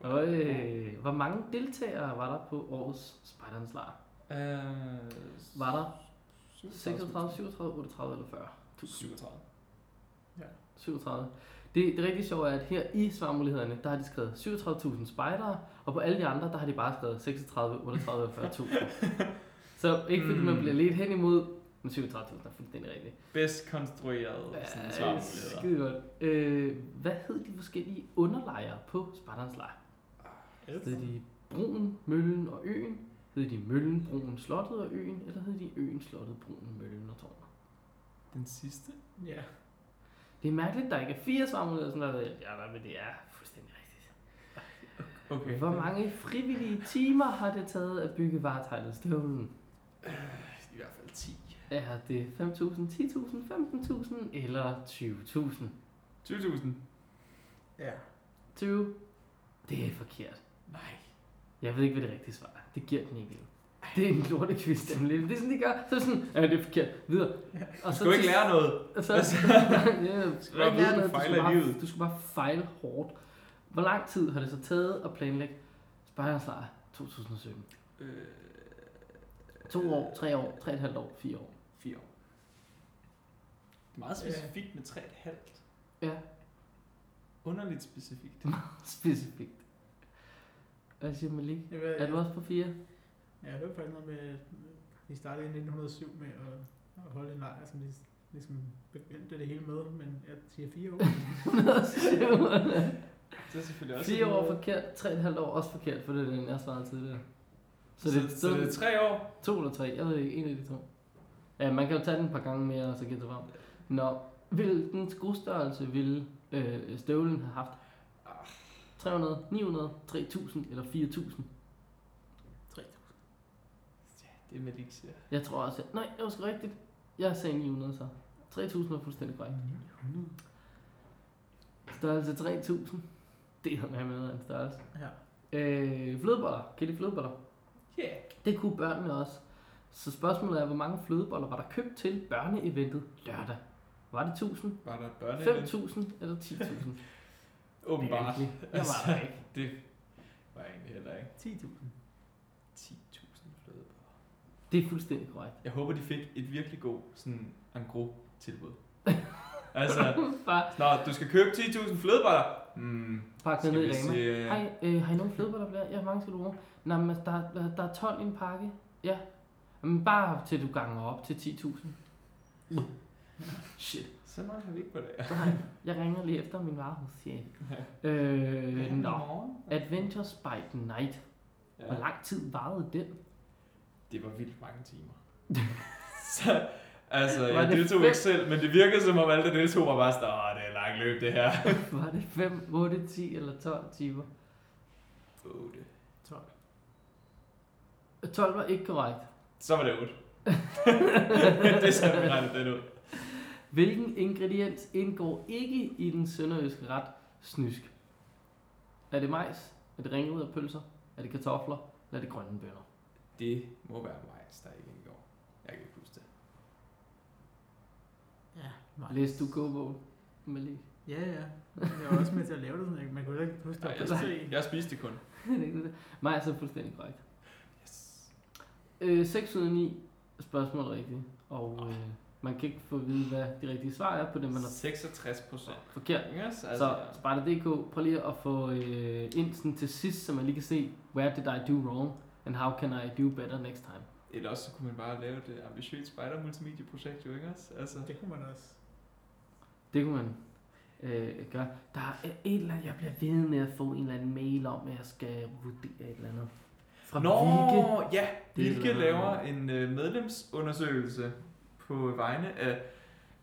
Og øh, hvor mange deltagere var der på årets Spejderens Lejr? Øh, Var der 36, 37, 38 eller 40? 37. 37. Det, det rigtig sjove er, at her i svarmulighederne, der har de skrevet 37.000 spejdere, og på alle de andre, der har de bare skrevet 36, 38 og 40.000. Så ikke fordi man Mm. bliver lidt hen imod, men 37.000 er fuldstændig rigtigt. Bedst konstrueret ja, sådan Ja, øh, svarmuligheder. skide godt. Øh, hvad hed de forskellige underlejre på spejderens lejr? Hed de Broen, Møllen og Øen? Hed de Møllen, Broen, Slottet og Øen? Eller hed de Øen, Slottet, Broen, Møllen og Tårnet? Den sidste? Ja. Det er mærkeligt, at der ikke er fire svarmuligheder, sådan noget. Ja, nej, men det er fuldstændig rigtigt. Okay. Hvor mange frivillige timer har det taget at bygge varetegnet støvlen? Øh, I hvert fald 10. Er det 5.000, 10.000, 15.000 eller 20.000? 20.000? Ja. 20? Det er forkert. Nej. Jeg ved ikke, hvad det rigtige svar er. Det giver den ikke. Det er en lortekvist, nemlig. Det er sådan, de gør. Så er det sådan, ja, det er forkert. Videre. Og Du skal jo ikke lære noget. Og så, Altså, ja, du skal skal bare ikke vide, lære du noget. Du fejler skal, i bare, livet. du skal bare fejle hårdt. Hvor lang tid har det så taget at planlægge Spejderens Lejr 2017? Øh, To år, tre år, tre og et halvt år, fire år. 4 år. Det er meget specifikt med 3,5. Ja. Underligt specifikt. Specifikt. Hvad siger Malik? Jeg, ved, Er du også på fire? jeg, jeg hørte faktisk noget med, at de startede i 1907 med at, at holde en lejr, som de s- ligesom begyndte det hele med, men jeg siger fire år. Det er selvfølgelig også... fire år forkert, tre og et halvt år også forkert, for det er den, jeg svarede tidligere. Så det, så, så det er 3 år. to eller tre, jeg ved ikke, en af de to. Ja, man kan jo tage den et par gange mere, og så gætte frem. Nå, hvilken skostørrelse ville øh, støvlen have haft? ah, 300, 900, 3000 eller 4000? Ja, det er Malik siger. Jeg tror også, jeg... Nej, det var sgu rigtigt. Jeg sagde 900 så. 3000 var fuldstændig korrekt. Størrelse 3000. Det er med med en størrelse. Ja. Øh, flødeboller. Kan I lide flødeboller? Yeah. Det kunne børnene også. Så spørgsmålet er, hvor mange flødeboller var der købt til børneeventet lørdag? Var det 1000, Var der et børne? 5000 eller 10.000? Åbenbart. Det er Jeg var der ikke. Det var jeg egentlig heller ikke. 10.000. 10.000 flødeboller. Det er fuldstændig korrekt. Jeg håber, de fik et virkelig god sådan en gros tilbud. altså, Bare snart, du skal købe 10.000 flødeboller. Mm, pakke det ned i Rema. sige... Hej, øh, har I nogen flødeboller flere? Ja, hvor mange skal du bruge? Nå, men altså, der, er- der er 12 i en pakke. Ja. Men bare til du ganger op til 10.000. Uh. Shit. øh, Så meget har vi ikke på det. Nej, jeg ringer lige efter min varehuschef. Øh, nå. Adventure Spike Night. Hvor Ja, lang tid varede den? det var vildt mange timer. så, Altså, Var jeg det deltog fedt? ikke selv, men det virkede som om alle, der deltog, var bare sådan, åh, det er langt løb, det her. Var det 5, 8, 10 eller 12 timer? 8. 12. 12 Øh, var ikke korrekt. Så var det 8. det skal vi regne den ud. Hvilken ingrediens indgår ikke i den sønderjyske ret snysk? Er det majs? Er det ringet af pølser? Er det kartofler? Eller er det grønne bønner? Det må være majs, der ikke indgår. Jeg kan ikke huske det. Ja, meget. Læste du gåbogen, Malik? Ja, ja. Jeg var også med til at lave det sådan. jeg- Man kunne heller ikke huske, Nej, at jeg, der var spiste, pølse i. jeg spiste det kun. majs er fuldstændig korrekt. Yes. Øh, 6 ud af 9 spørgsmål er rigtige, og øh, man kan ikke få at vide, hvad de rigtige svar er på det, man har 66 procent. forkert. Yes, Så Sparta.dk, prøv lige at få øh, ind sådan til sidst, så man lige kan se, where did I do wrong, and how can I do better next time. Eller også så kunne man bare lave det ambitiøse spider-multimedieprojekt, jo ikke også? Altså, Det kunne man også. Det kunne man øh, gøre. Der er et eller andet, jeg bliver ved med at få en eller anden mail om, at jeg skal vurdere et eller andet. Fra Nå, Vigge. ja. Vilke Det er- laver en øh, medlemsundersøgelse på vegne af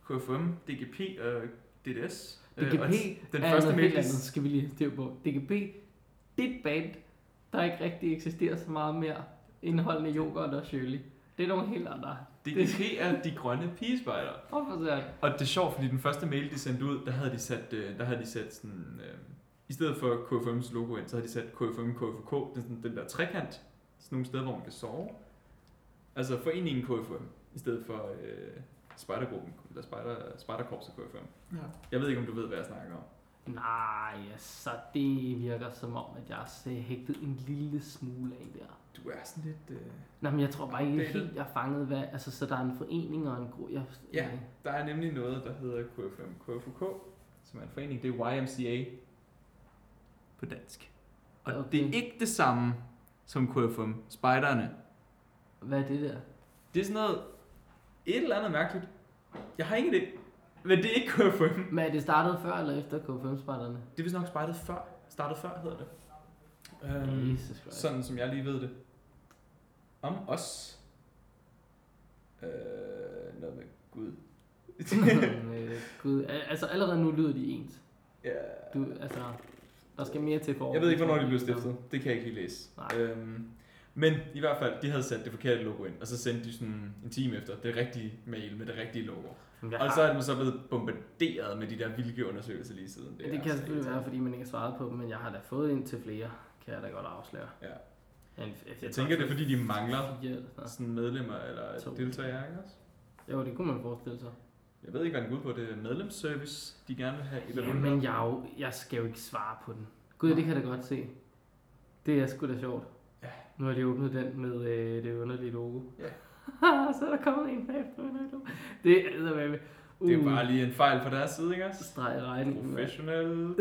KFM, DGP og DDS. Øh, DGP og den er første noget helt mail, andet, skal vi lige have styr på. DGP, det er et band, der ikke rigtig eksisterer så meget mere indholdende yoghurt og Shirley. Det er nogle helt andre. DGP er de grønne pigespejder. Hvorfor så jeg? Og det er sjovt, fordi den første mail, de sendte ud, der havde de sat, øh, der havde de sat sådan... Øh, I stedet for KFM's logo ind, så havde de sat KFM, KFK, den, sådan, den der trekant, sådan nogle steder, hvor man kan sove. Altså foreningen KFM, i stedet for øh, spejdergruppen, eller spejder, spejderkorpset KFM. Ja. Jeg ved ikke, om du ved, hvad jeg snakker om. Nej, så det virker som om, at jeg er hægtet en lille smule af der. Du er sådan lidt... Øh... Nej, men jeg tror bare ikke Outdated. helt, jeg har fanget hvad. Altså, så der er en forening og en gruppe. Jeg... Ja. Der er nemlig noget, der hedder KFM, KFK, som er en forening. Det er YMCA på dansk. Og Okay. det er ikke det samme som KFM, spejderne. Hvad er det der? Det er sådan noget... Et eller andet mærkeligt. Jeg har ingen idé. Men det er ikke KFM. Men er det startet før eller efter K5-spejderne? Det er vist nok spejlet før. Startet før, hedder det. Um, Øhm, Jesus Christ. sådan som jeg lige ved det. Om os. Øh, noget med Gud. øh, Gud, al- altså allerede nu lyder de ens. ja. Du, altså, der skal mere til for. Jeg ved ikke, hvornår de blev stiftet. Det kan jeg ikke lige læse. Nej. Øhm, men i hvert fald, de havde sat det forkerte logo ind, og så sendte de sådan en time efter det rigtige mail med det rigtige logo. Jeg Og så er man så blevet bombarderet med de der vilde undersøgelser lige siden. det, det er kan altså selvfølgelig irriterende. være, fordi man ikke har svaret på dem, men jeg har da fået ind til flere, kan jeg da godt afsløre. Ja. En, jeg, Jeg tænker, det er fordi, de mangler fire eller sådan sådan medlemmer eller To. deltagere, ikke også? noget. Jo, det kunne man forestille sig. Jeg ved ikke, hvad den går ud på. Det er medlemsservice, de gerne vil have. et Eller Ja, andet. men jeg, er jo, jeg skal jo ikke svare på den. Gud, det kan jeg da godt se. Det er sgu da sjovt. Ja. Nu har de åbnet den med øh, det underlige logo. Ja. så er der kommet en bagefter med noget logo. Det er eddermame. Det Uh. er jo bare lige en fejl fra deres side, ikke Så også? streg i regningen. mand. Professionel.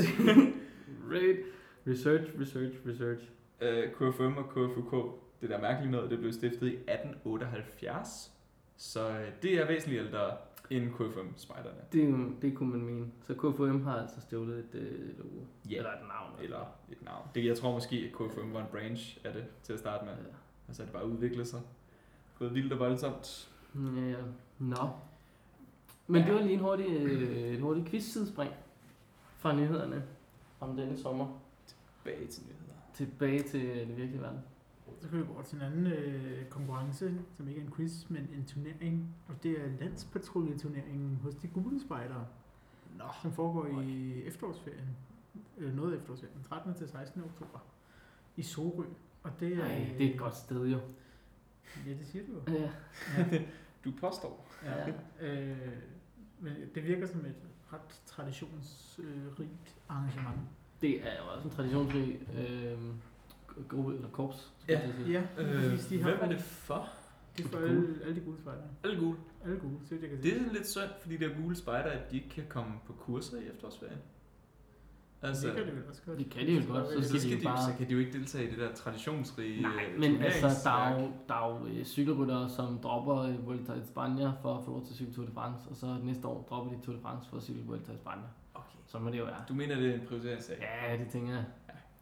Right. Research, research, research. Øh, KFM og KFUK, det der mærkelige noget, det blev stiftet i 1878. Så øh, det er væsentligt ældre end KFM spejderne. Det, er jo- det kunne man mene. Så KFM har altså stjålet et øh, logo. Ja. Eller et navn. Eller et navn. Det, jeg tror måske, at KFM var en branch af det til at starte med. Ja. Og så er det bare udviklet sig. Gået vildt og voldsomt. Ja, ja. Øh, Nå. Men det var lige en hurtig, øh, en hurtig quiz-sidespring fra nyhederne om denne sommer Bag til nyheder. tilbage til den virkelige verden. Så kan vi gå over til en anden øh, konkurrence, som ikke er en quiz, men en turnering. Og det er landspatruljeturneringen hos de gule spejdere, Nå. som foregår i efterårsferien. Øh, noget af efterårsferien, 13. til 16. oktober, i Sorø. Og det er, Ej, det er et godt sted jo. Ja, det siger du jo. Ja. Ja, Du påstår. ja. Øh, men det virker som et ret traditionsrigt arrangement. Det er jo også en traditionsrig øh, gruppe eller korps. skulle Ja. jeg til at sige. Ja, Øh, præcis, de har hvem er det for? Det er for De alle, alle de gule spejdere. Alle gule. Alle gule, så vidt jeg kan se. Det er sådan lidt synd for de der gule spejder, at de ikke kan komme på kurser i efterårsferien. Altså, det kan de vel også godt. Det kan de jo godt, så, så, de skal jo de, bare- så kan de jo ikke deltage i det der traditionsrige Nej, øh, men altså, der er turneringsværk. jo, der er jo øh, cykelryttere, som dropper øh, Vuelta i Spanien for at få lov til at cykle Tour de France, og så næste år dropper de Tour de France for at cykle Vuelta i Spanien. Okay. Så må det jo være. Du mener, det er en prioriteringssag? Ja, det tænker jeg.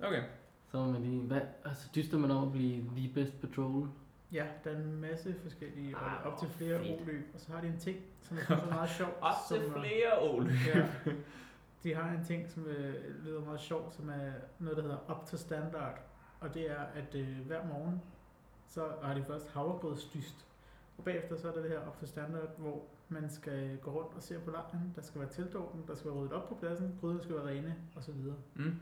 Okay. Så må man lige... Hvad? Altså, dyster man over at blive the best patrol? Ja, der er en masse forskellige, og Ah, op til hvor flere fedt. oløb, og så har de en ting, som jeg synes er meget sjov. Op til som er- flere Ole. Ja. De har en ting, som øh, lyder meget sjov, som er noget, der hedder Up to Standard. Og det er, at øh, hver morgen, så har de først havregrødsdyst. Og bagefter så er der det her Up to Standard, hvor man skal gå rundt og se på lejren. Der skal være tildåben, der skal være ryddet op på pladsen, gryderne skal være rene osv. Mm.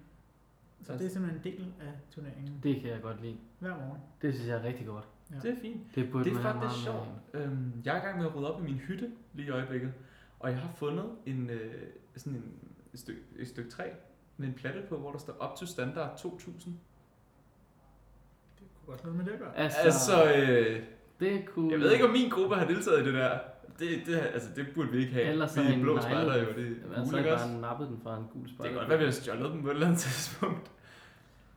Så det er simpelthen en del af turneringen Altså- Det kan jeg godt lide. hver morgen. Det synes jeg er rigtig godt. Det er fint. Det burde Det er man have faktisk meget sjovt. mere Øhm, jeg er i gang med at rydde op i min hytte lige i øjeblikket, og jeg har fundet en, øh, sådan en et stykke, et stykke træ med en platte på, hvor der står op til standard 2000. Det kunne godt noget med det at gøre. af. Altså, altså øh, det kunne... jeg ved ikke, om min gruppe har deltaget i det der. Det, det, altså, det burde vi ikke have. Ellers vi er er en blå nejle. spejder jo, det Jamen, er altså, gule, jeg ikke også? bare nappet den fra en gul spejder. Det kan godt være, vi har stjålet dem på et eller andet tidspunkt.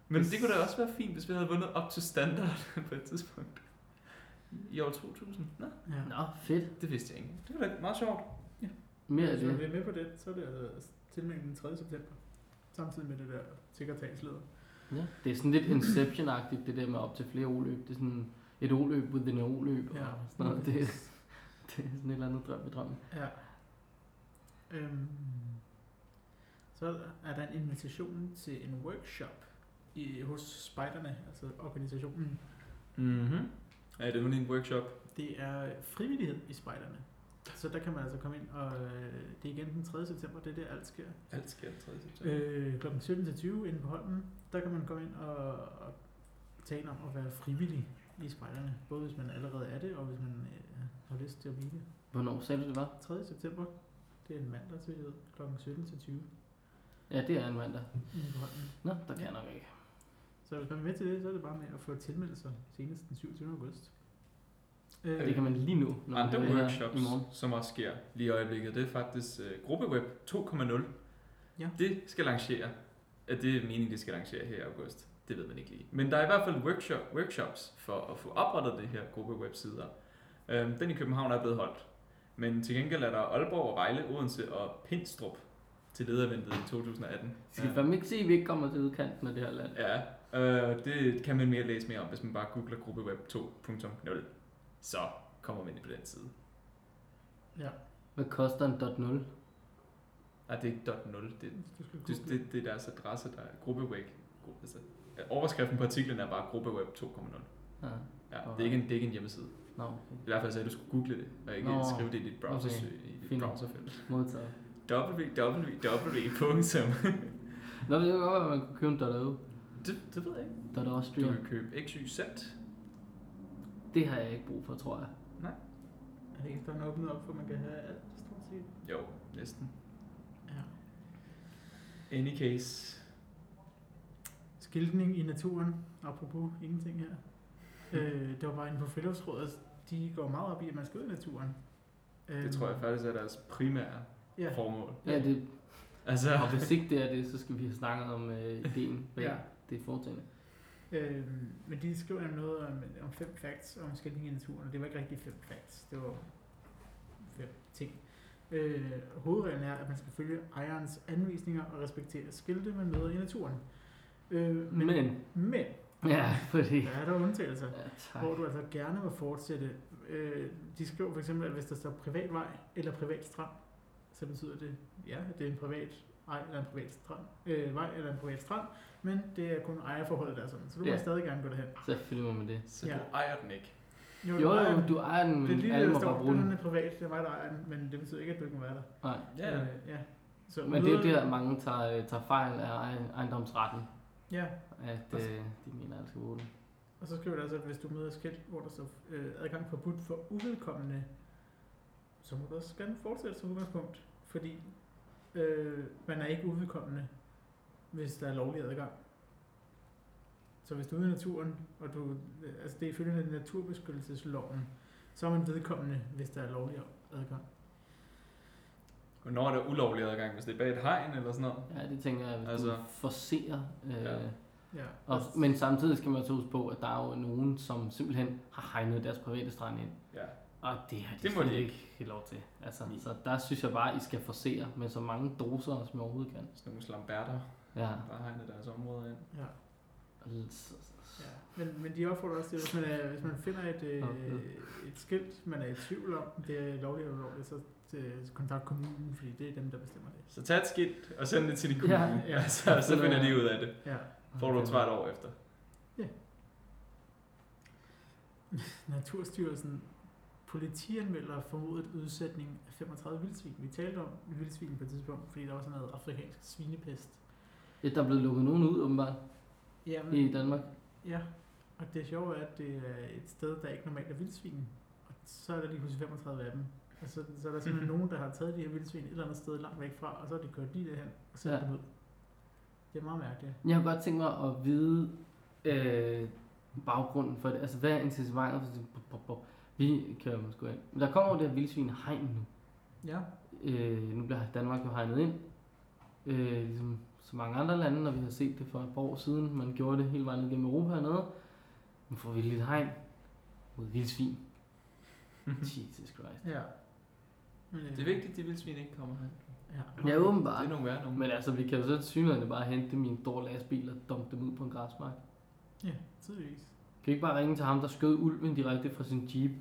Men det kunne da også være fint, hvis vi havde vundet op til standard på et tidspunkt. I år 2000? Nå, Ja. Nå, fedt. det vidste jeg ikke. Det var da meget sjovt. Mere af Hvis man det. vil med på det, så er det altså tilmelding den 3. september. Samtidig med det der sekretariatsleder. Ja. Det er sådan lidt Inception-agtigt, det der med op til flere oløb. Det er sådan et oløb within et oløb. Ja. Og sådan noget. Det, det er sådan et eller andet drøm i drømmen. Ja. Øhm, så er der en invitation til en workshop i, hos spejderne, altså organisationen. Mm-hmm. Mhm. Ja, det er nemlig en workshop. Det er frivillighed i spejderne. Så der kan man altså komme ind, og øh, det er igen den 3. september, det er der alt sker. Alt sker den 3. september. Øh, kl. 17-20 inde på Holmen, der kan man komme ind og, og tale om at være frivillig i spejderne. Både hvis man allerede er det, og hvis man øh, har lyst til at blive det. Hvornår sagde du, det var? 3. september, det er en mandag til kl. 17-20 Ja, det er en mandag. inde på Holmen. Nå, der kan jeg nok ikke. Så hvis man vil med til det, så er det bare med at få tilmeldt sig senest den 27. august. Øh, Det kan man lige nu, når man Andre hører det her Ah, workshops, i morgen. som også sker lige i øjeblikket, det er faktisk uh, Gruppeweb 2.0. Ja. Det skal lancere. Ja, det er meningen, det skal lancere her i august. Det ved man ikke lige. Men der er i hvert fald workshop, workshops for at få oprettet det her gruppewebsider. Øhm, den i København er blevet holdt. Men til gengæld er der Aalborg, Vejle, Odense og Pindstrup til lederventet i 2018. Vi skal fandme ikke sige, at vi ikke kommer til udkanten af det her land. Ja, øh, det kan man mere læse mere om, hvis man bare googler gruppeweb 2.0. Så kommer man ind på den side. Ja, Hvad koster en .0? Nej, det er ikke .0, det, du skal det, google. det, det er deres adresse, der er gruppeweb. gru- Altså, overskriften på artiklen er bare gruppeweb 2.0. Ja. Ja, det, er ikke en, det er ikke en hjemmeside. Ah, Nå, okay. I hvert fald sagde du skulle google det, og ikke Nå, Nå, skrive det i dit browser, okay. i dit fint. browserfelt. Modtaget. www. Nå, det kunne godt være, at man kunne købe en .eu. det, det ved jeg ikke. .eu Du stream. kan købe XYZ. Det har jeg ikke brug for, tror jeg. Er det ikke, der er åbnet op for, at man kan have alt, stort set? Jo, næsten. Ja. Any case. Skiltning i naturen, apropos ingenting her. Øh, det var bare inde på friluftsrådet. De går meget op i, at man skal ud i naturen. Øh, Det tror jeg faktisk er deres primære Ja, formål. Ja, det, Altså, og hvis ikke det er det, så skal vi have snakket om øh, ideen bag Ja. ja. det foretagende. øh, men de skriver noget om, om fem facts om skiltning i naturen, og det var ikke rigtig fem facts, det var fem ting. Øh, hovedreglen er, at man skal følge ejerens anvisninger og respektere skilte, man møder i naturen. Øh, men, Men, men, ja, fordi... der er der undtagelser. Ja, tak. hvor du altså gerne må fortsætte. Øh, de skriver for eksempel, at hvis der står privat vej eller privat strand, så betyder det, ja, at det er en privat ej eller en privat strand, øh, vej eller en privat strand, men det er kun ejerforholdet, der er sådan. Så du må Ja. stadig gerne gå derhen. Selvfølgelig må man det. så Ja. du ejer den ikke. Jo, du ejer jo, den. du ejer den, det er men lige det, alle der må bare står, bruge den den. er privat, det er mig, der ejer den, men det betyder ikke, at du ikke må være der. Nej. Ja, Øh, ja. Så Men det er jo møder- der, mange tager, øh, tager fejl af ej- ejendomsretten. Ja, At Og så- øh, de mener, at alle skal bruge den. og så skriver det altså, at hvis du møder et skilt, hvor der står øh, adgang forbudt for uvedkommende, så må du også gerne fortsætte som udgangspunkt, fordi øh, man er ikke uvedkommende, hvis der er lovlig adgang. Så hvis du er ude i naturen, og du, øh, altså det er ifølge naturbeskyttelsesloven, så er man vedkommende, hvis der er lovlig adgang. Hvornår er der ulovlig adgang, hvis det er bag et hegn eller sådan noget? Ja, det tænker jeg, hvis altså, Altså- du forserer. Øh, Ja. ja. Ja, og, men samtidig skal man også huske på, at der er jo nogen, som simpelthen har hegnet deres private strand ind. Ja. Og Ah, det har de Det må de slet ikke. helt lov til. Altså, Nej. så der synes jeg bare, at I skal forsere med så mange doser, som I overhovedet kan. Sådan nogle slamberter, Ja. der har hegnet deres område ind. ja. Og l- s- s- Ja, men, men de opfordrer også til, at hvis man, er, hvis man finder et, øh, Okay. et skilt, man er i tvivl om, om det er lovligt eller ulovligt, så øh, kontakt kommunen, fordi det er dem, der bestemmer det. Så tag et skilt og send det til din kommune, Ja, ja, ja. ja. så, så finder de ud af det. Ja. Får du et svar et år efter. Naturstyrelsen politianmelder formodet udsætning af 35 vildsvin. Vi talte om vildsvin på et tidspunkt, fordi der var sådan noget afrikansk svinepest. Ja, der er blevet lukket nogen ud, åbenbart, Mm. Jamen, i Danmark. Ja, og det sjove er, at det er et sted, der ikke normalt er vildsvin. Og så er der lige pludselig 35 af dem. Og så, så er der simpelthen nogen, der har taget de her vildsvin et eller andet sted langt væk fra, og så har de kørt lige derhen og sat Ja. ja. dem ud. Det er meget mærkeligt. Jeg har godt tænkt mig at vide øh, baggrunden for det. Altså, hvad er incitamentet? for det? Bup, bup, bup. Vi kører dem sgu ind. Men der kommer jo det her vildsvin hegn nu. Ja. Øh, nu bliver Danmark jo hegnet ind. Øh, ligesom så mange andre lande, når vi har set det for et par år siden. Man gjorde det hele vejen ned gennem Europa hernede. Nu får vi lidt hegn mod vildsvin. Jesus Christ. ja. Men, øh, Det er vigtigt, at de vildsvin ikke kommer her. Ja. Ja, Det åbenbart. er nogle værre nogen. Men altså, vi kan jo så synligheden bare hente dem i en stor lastbil og dumpe dem ud på en græsmark. ja, tydeligvis. Kan vi ikke bare ringe til ham, der skød ulven direkte fra sin jeep?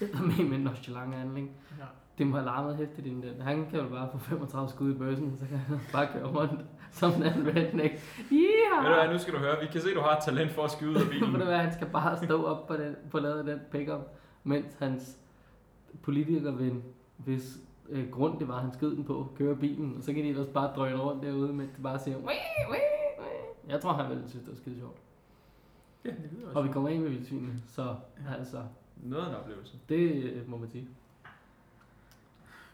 med med en nonchalant handling. Ja. Det må have larmet hæftigt inden den. Han kan jo bare få 35 skud i bøssen, så kan han bare køre rundt som en redneck. Ved du Yeah! hvad, nu skal du høre. Vi kan se, at du har et talent for at skyde ud af bilen. Ved du hvad, han skal bare stå op på, den, på ladet af den pickup, mens hans politikerven, hvis øh, grund det var, han skød den på, kører bilen, og så kan de ellers bare drøne rundt derude, mens de bare siger, "Wee, wee, wee." jeg tror, han ville synes, det var skide sjovt. Det lyder også. Og vi kommer ind med vildsvinene, så altså, Noget af en oplevelse. det øh, må man sige.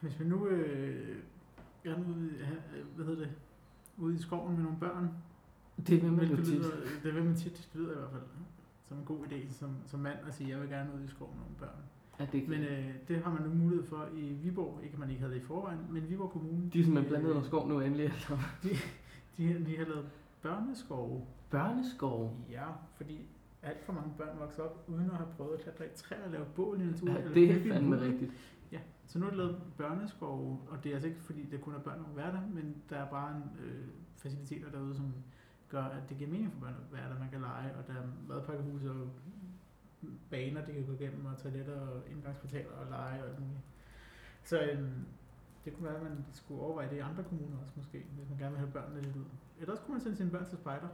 Hvis vi nu øh, er ude, i- øh, hvad hedder det, ude i skoven med nogle børn, Det vil man jo Men det, tit. lyder, det vil man tit, det lyder i hvert fald som en god idé som, som mand at sige, jeg vil gerne ud i skoven med nogle børn. Ja, det Men øh, det har man nu mulighed for i Viborg, ikke at man ikke havde det i forvejen, men Viborg Kommune, De er simpelthen øh, blandet under skov nu endelig. Altså. de, de har lavet børneskove. Børneskov. Ja, fordi alt for mange børn vokser op uden at have prøvet at klatre i træer og lave bål i naturen. Ja, det eller bygge en er fandme hule. rigtigt. Så nu er det lavet børneskove, og det er altså ikke fordi, der kun er børn, der må være der, men der er bare en øh, faciliteter derude, som gør, at det giver mening for børn at være der. Man kan lege, og der er madpakkehus og baner, det kan gå igennem, og toiletter og indgangsportaler og lege og alt muligt. Så øh, det kunne være, at man skulle overveje det i andre kommuner også måske, hvis man gerne vil have børnene lidt ud. Ellers kunne man sende sine børn til spejder.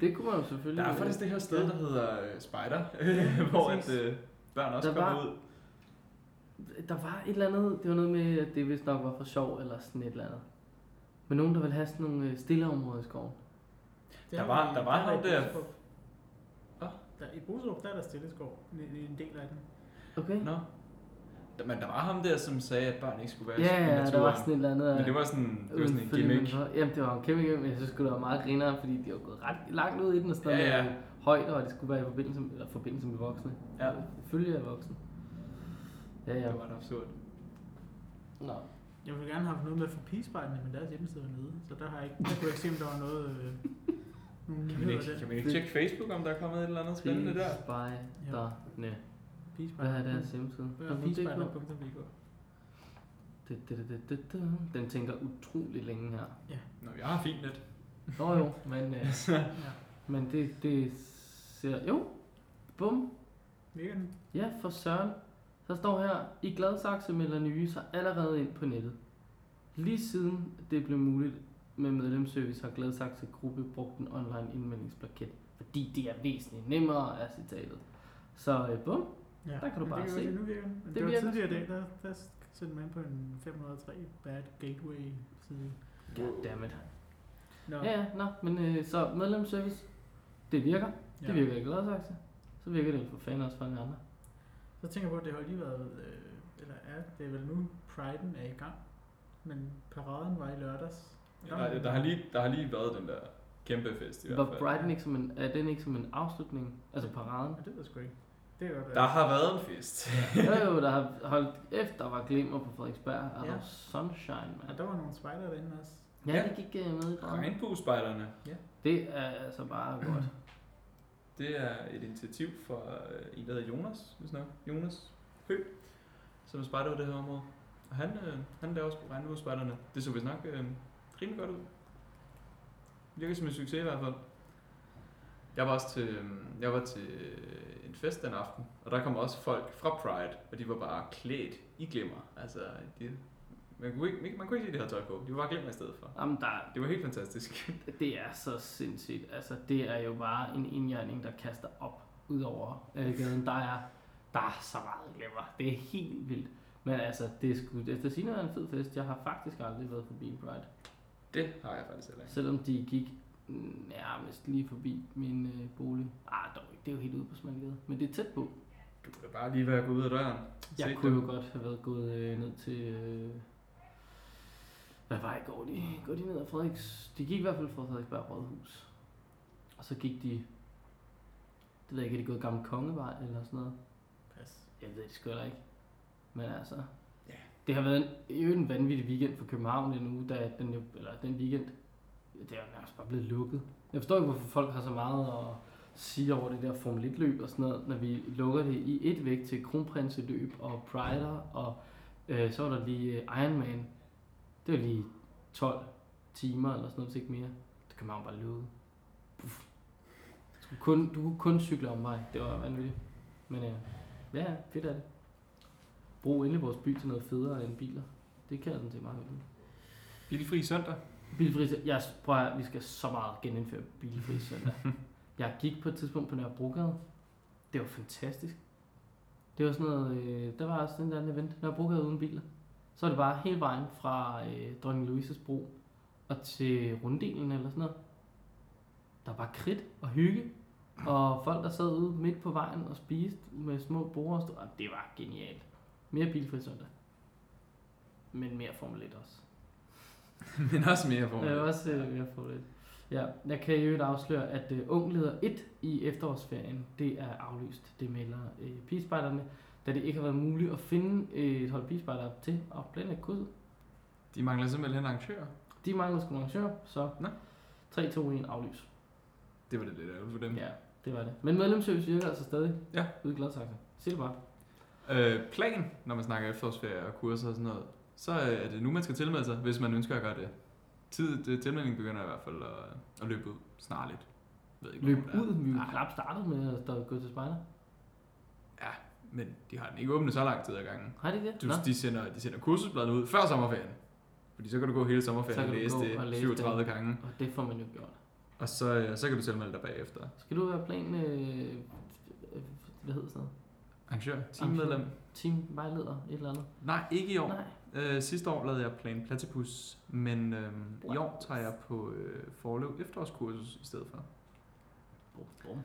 Det kunne man jo selvfølgelig. Der er faktisk det her sted, der hedder øh, Spider, øh, hvor at, præcis. øh, børn også Der kommer var- ud. øh, Der var et eller andet, det var noget med, at det vist nok var for sjov eller sådan et eller andet. Men nogen, der ville have sådan nogle øh, stille områder i skoven. Det Der har var- vi- der var er ham i der. Boserup. Hvad? Der, I Boserup, der er der stilleskov, en, en del af den. Okay? Nå. Der- Men der var ham der, som sagde, at børn ikke skulle være ja, i ja, der naturen. var sådan et eller andet. Men det øh, var sådan, det var uden sådan en følge med gimmick. for- Jamen, det var en kæmpe gimmick, men jeg synes sgu, det var meget grineren, fordi de var gået ret langt ud i den og sådan Ja, noget ja. med højde, og det skulle være i forbindelse med, eller forbindelse med voksne. Ja. Følge af voksne. Ja, ja. Det var ret absurd. Nå. Jeg ville gerne have haft noget med for pigespejlene, men deres hjemmeside var nede, så der, har jeg ikke, der kunne jeg ikke se, om der var noget... Øh, nogle Kan man nyheder ikke, der. kan man ikke tjekke Facebook, om der er kommet et eller andet spændende der? Spiderne. Hvad er deres Pigespejler. hjemmeside? Pigespejler.dk Det- det- det- det- det- det. Den tænker utrolig længe her. Nå, jeg har fint net. Nå jo, men, øh, Ja, men det, det ser... Jo, bum. mega den. Ja, for søren. Så står her, i Gladsaxe melder nye sig allerede ind på nettet. Lige siden det blev muligt med medlemsservice, har Gladsaxe Gruppe brugt en online indmeldingsplaket, fordi det er væsentligt nemmere, er citatet. Så øh, bum, Ja, Der kan du men bare det se. godt Nu virker den. Men Det det, det var virker. tidligere i dag, der, der sendte man ind på en 503 Bad Gateway side. goddammit. Nå, Ja, ja, nå, men øh, så medlemsservice, det virker. Det ja. virker i Gladsaxe. Så virker det jo for fanden også for en andre. Så tænker jeg på, at det har lige været, øh, eller er, det er vel nu, Pride'en er i gang. Men paraden var i lørdags. Og Ja, der, der, har lige, der har lige været den der kæmpe fest i hvert Var fald. Brighton ikke som en, er den ikke som en afslutning? Altså paraden? Ja, det ved jeg sgu ikke. Det er godt. Der har været en fest. jo, jo, der har holdt efter, var glimmer på Frederiksberg. Er Ja. ja. sunshine, Og mand. der var nogle spejder derinde også. Ja, det gik uh, med i drømmen. Regnbuespejderne, Det er altså bare godt. det er et initiativ fra øh, en, der hedder Jonas, hvis nok. Jonas Hø, som er spejder i det her område. Og han, øh, han laver også på regnbuespejderne. Det så vist nok øh, rimelig godt ud. Virker som en succes i hvert fald. Jeg var også til, øhm, jeg var til øh, en fest den aften, og der kom også folk fra Pride, og de var bare klædt i glimmer. Altså, de, man, kunne ikke, man kunne ikke se det her tøj på. De var bare glimmer i stedet for. Jamen, der, Det var helt fantastisk. det er så sindssygt. Altså, det er jo bare en indjørning, der kaster op ud over øh, gaden. Der er, der er så meget glemmer. Det er helt vildt. Men altså, det er sgu, efter sin en fed fest. Jeg har faktisk aldrig været forbi en Pride. Det har jeg faktisk heller ikke. Selvom de gik mm, nærmest lige forbi min øh, bolig. Ah, dog ikke. Det er jo helt ude på Smalgade. Men det er tæt på. Du kunne da bare lige være gået ud af døren. Jeg Se kunne dem. jo godt have været gået øh, ned til... Øh, hvad var det? Går de, går de ned ad Frederiks... De gik i hvert fald fra Frederiksberg Rådhus. Og så gik de... Det ved jeg ikke, er de gået gammel Kongevej eller sådan noget? Pas. Jeg ved det sgu heller ikke. Men altså... Ja. Det har været en, i øvrigt en vanvittig weekend for København i en uge, da den, jo- eller den weekend, det er jo nærmest bare blevet lukket. Jeg forstår ikke, hvorfor folk har så meget at sige over det der Formel 1-løb og sådan noget, når vi lukker det i et væk til kronprinseløb og Prider, og øh, så var der lige øh, Ironman. Det var lige 12 timer eller sådan noget, hvis ikke mere. Det kan man jo bare lukket. Puff. Du kunne kun, du kunne kun cykle om vej. Det var vanvittigt. Men øh, ja, ja, fedt er det. Brug endelig vores by til noget federe end biler. Det kan jeg sådan set meget godt lide. Bilfri søndag. Bilfri søndag. Jeg, prøv at, høre, vi skal så meget genindføre bilfri søndag. jeg gik på et tidspunkt på Nørrebrogade. Det var fantastisk. Det var sådan noget, øh, der var også den der anden event, Nørrebrogade uden biler. Så var det bare hele vejen fra øh, Dronning Louises bro og til runddelen eller sådan noget. Der var bare kridt og hygge. Og folk, der sad ude midt på vejen og spiste med små borer. og stod- Ej, Det var genialt. Mere bilfri søndag. Men mere Formel 1 også. Men også mere på. Jeg vil også øh, jeg får lidt. Ja, jeg kan i øvrigt afsløre, at øh, Ung Leder 1 i efterårsferien, det er aflyst. Det melder øh, pigespejderne, da det ikke har været muligt at finde øh, et hold pigespejdere til at planlægge kurset. De mangler simpelthen arrangører. De mangler sgu arrangører, så Nå. 3, 2, 1 aflys. Det var det lidt ærgerligt for dem. Ja, det var det. Men medlemsøs virker altså stadig. Ja. Ude i Gladsaxe. Sig det bare. Øh, plan, når man snakker efterårsferie og kurser og sådan noget, så øh, er det nu, man skal tilmelde sig, hvis man ønsker at gøre det. Tid, det tilmeldingen begynder i hvert fald at, at løbe ud snarligt. Ved ikke, Løb hvornår det er. ud. Vi er jo Ah, knap startet med at stå- gå til spejder. Men de har den ikke åbnet så lang tid ad gangen. Har de det? Du, Nå. de, sender, de sender kursusbladet ud før sommerferien. Fordi så kan du gå hele Så sommerferien kan og du læse gå det og læse 37 gange. Og det får man jo gjort. Og så, øh, så kan du tilmelde dig bagefter. Skal du være plan... Øh, øh, hvad hedder sådan noget? Arrangør, teammedlem. teamvejleder, et eller andet. Nej, ikke i år. Nej. Øh, sidste år lavede jeg Plan Platypus, men øhm, i Wow. år tager jeg på øh, forløb efterårskursus i stedet for. Bum, bum.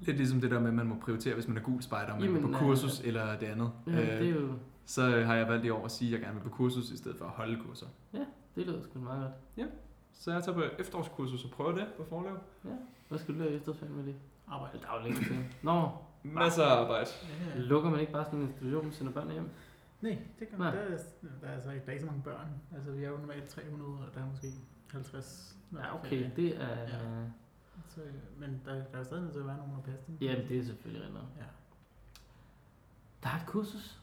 Lidt ligesom det der med, at man må prioritere, hvis man er gul spejder, om man Jamen, vil på øh, kursus eller det andet. Ja, det, er jo, Så øh, har jeg valgt i år at sige, at jeg gerne vil på kursus i stedet for at holde kurser. det lyder sgu meget godt. Så jeg tager på efterårskursus og prøver det på forløb. Hvad skal du lave i efterårsferien med det? Arbejde. Der er jo længe til. Nå, Masser af arbejde. Ja, ja. lukker man ikke bare sådan en institution, sender børn hjem? Nej, det kan man. Nej. Der er, der er altså ikke, der er ikke så mange børn. Altså, vi er jo normalt 300, og der er måske 50. når der Ja, er okay, ferie. det er... Ja. Så, øh, men der, der er jo stadig nødt til at være nogen, der passer dem. Jamen, det er selvfølgelig rigtigt. nok. Ja. Der er et kursus.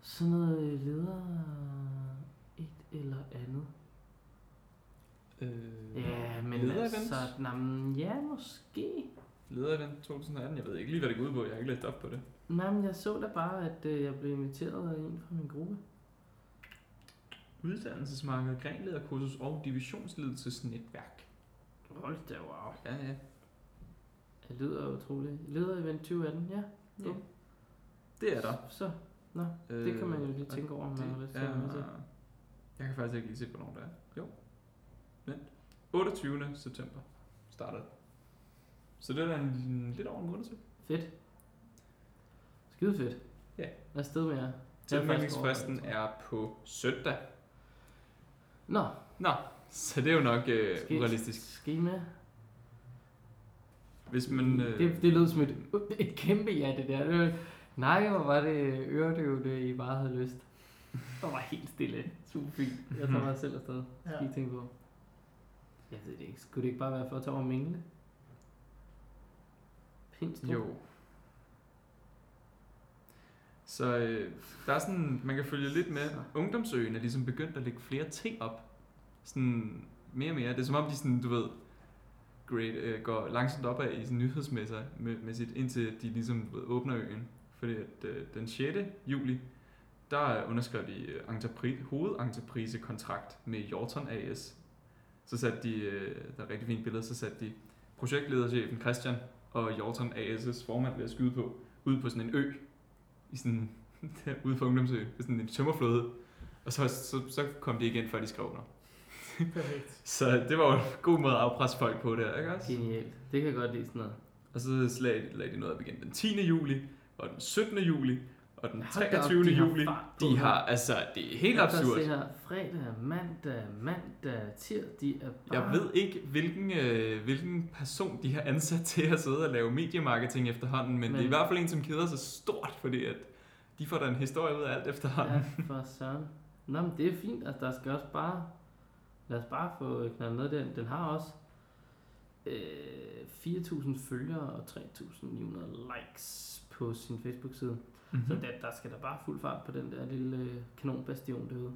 Sådan noget øh, leder et eller andet. Øh, Ja, men lederevent. altså... Nå, men ja, måske. Lederevent 2018. Jeg ved ikke lige, hvad det går ud på. Jeg har ikke læst op på det. Nej, men jeg så da bare, at øh, jeg blev inviteret af en fra min gruppe. Uddannelsesmarked, grenlederkursus og divisionsledelsesnetværk. Hold da, wow. Ja, ja. Det lyder utroligt. Leder event 2018, ja. Ja. Det er der. Øh, Så, nå, det kan man jo lige tænke over, om man har lyst til at være med til. Jeg kan faktisk ikke lige se, hvornår det er. Jo. Vent. 28. september starter det. Så det er da en, lidt over en måned til. Fedt. Skide fedt. Ja. Hvad sted med jer? Tilmeldingsfristen Jeg er faktisk er på søndag. Nå, Nå, så det er jo nok øh, Ske- urealistisk. schema. Hvis man... Øh, Det, det lød som et, et kæmpe ja, det der. Det var, nej, hvor var det øredøvende, I bare havde lyst. Det var helt stille. Super fint. Jeg tager mig selv afsted. Ja. Skal I tænke på. Jeg ved det ikke. Skulle det ikke bare være for at tage over mingle? Pindstrup. Jo. Så øh, der er sådan, man kan følge lidt med. Så. Ungdomsøen er ligesom begyndt at lægge flere ting op. Sådan mere og mere. Det er som om, de sådan, du ved, grade, øh, går langsomt opad i sådan nyhedsmæssigt, indtil de ligesom du ved, åbner øen. Fordi at, øh, den 6. juli, der øh, underskrev de øh, entrepri- hovedentreprisekontrakt med Jorton AS. Så satte de, øh, der er rigtig fint billede, så satte de projektlederchefen Christian og Jorton AS' formand ved at skyde på, ud på sådan en ø, i sådan, ude på Ungdomsø, på sådan en tømmerflåde. Og så, så, så kom de igen, før de skrev under. Perfekt. Så det var jo en god måde at afpresse folk på der, ikke også? Genialt. Det kan jeg godt lide sådan noget. Og så slag, lagde de noget op igen den 10. juli, og den 17. juli, og den Hold da op, 23. de har juli. fart på De her. har, altså, det er helt Jeg kan absurd. se her, fredag, mandag, mandag, tirsdag, de er bare... Jeg ved ikke, hvilken, øh, hvilken person de har ansat til at sidde og lave mediemarketing efterhånden, men, men Men- det er i hvert fald en, som keder sig stort, fordi at de får da en historie ud af alt efterhånden. Ja, for søren. Nå, men det er fint, at altså, der skal også bare... Lad os bare få knaldet noget den. Den har også øh, 4.000 følgere og 3.900 likes på sin Facebook-side. Mm-hmm. Mm-hmm. Så der, der skal der bare fuld fart på den der lille øh, kanonbastion derude.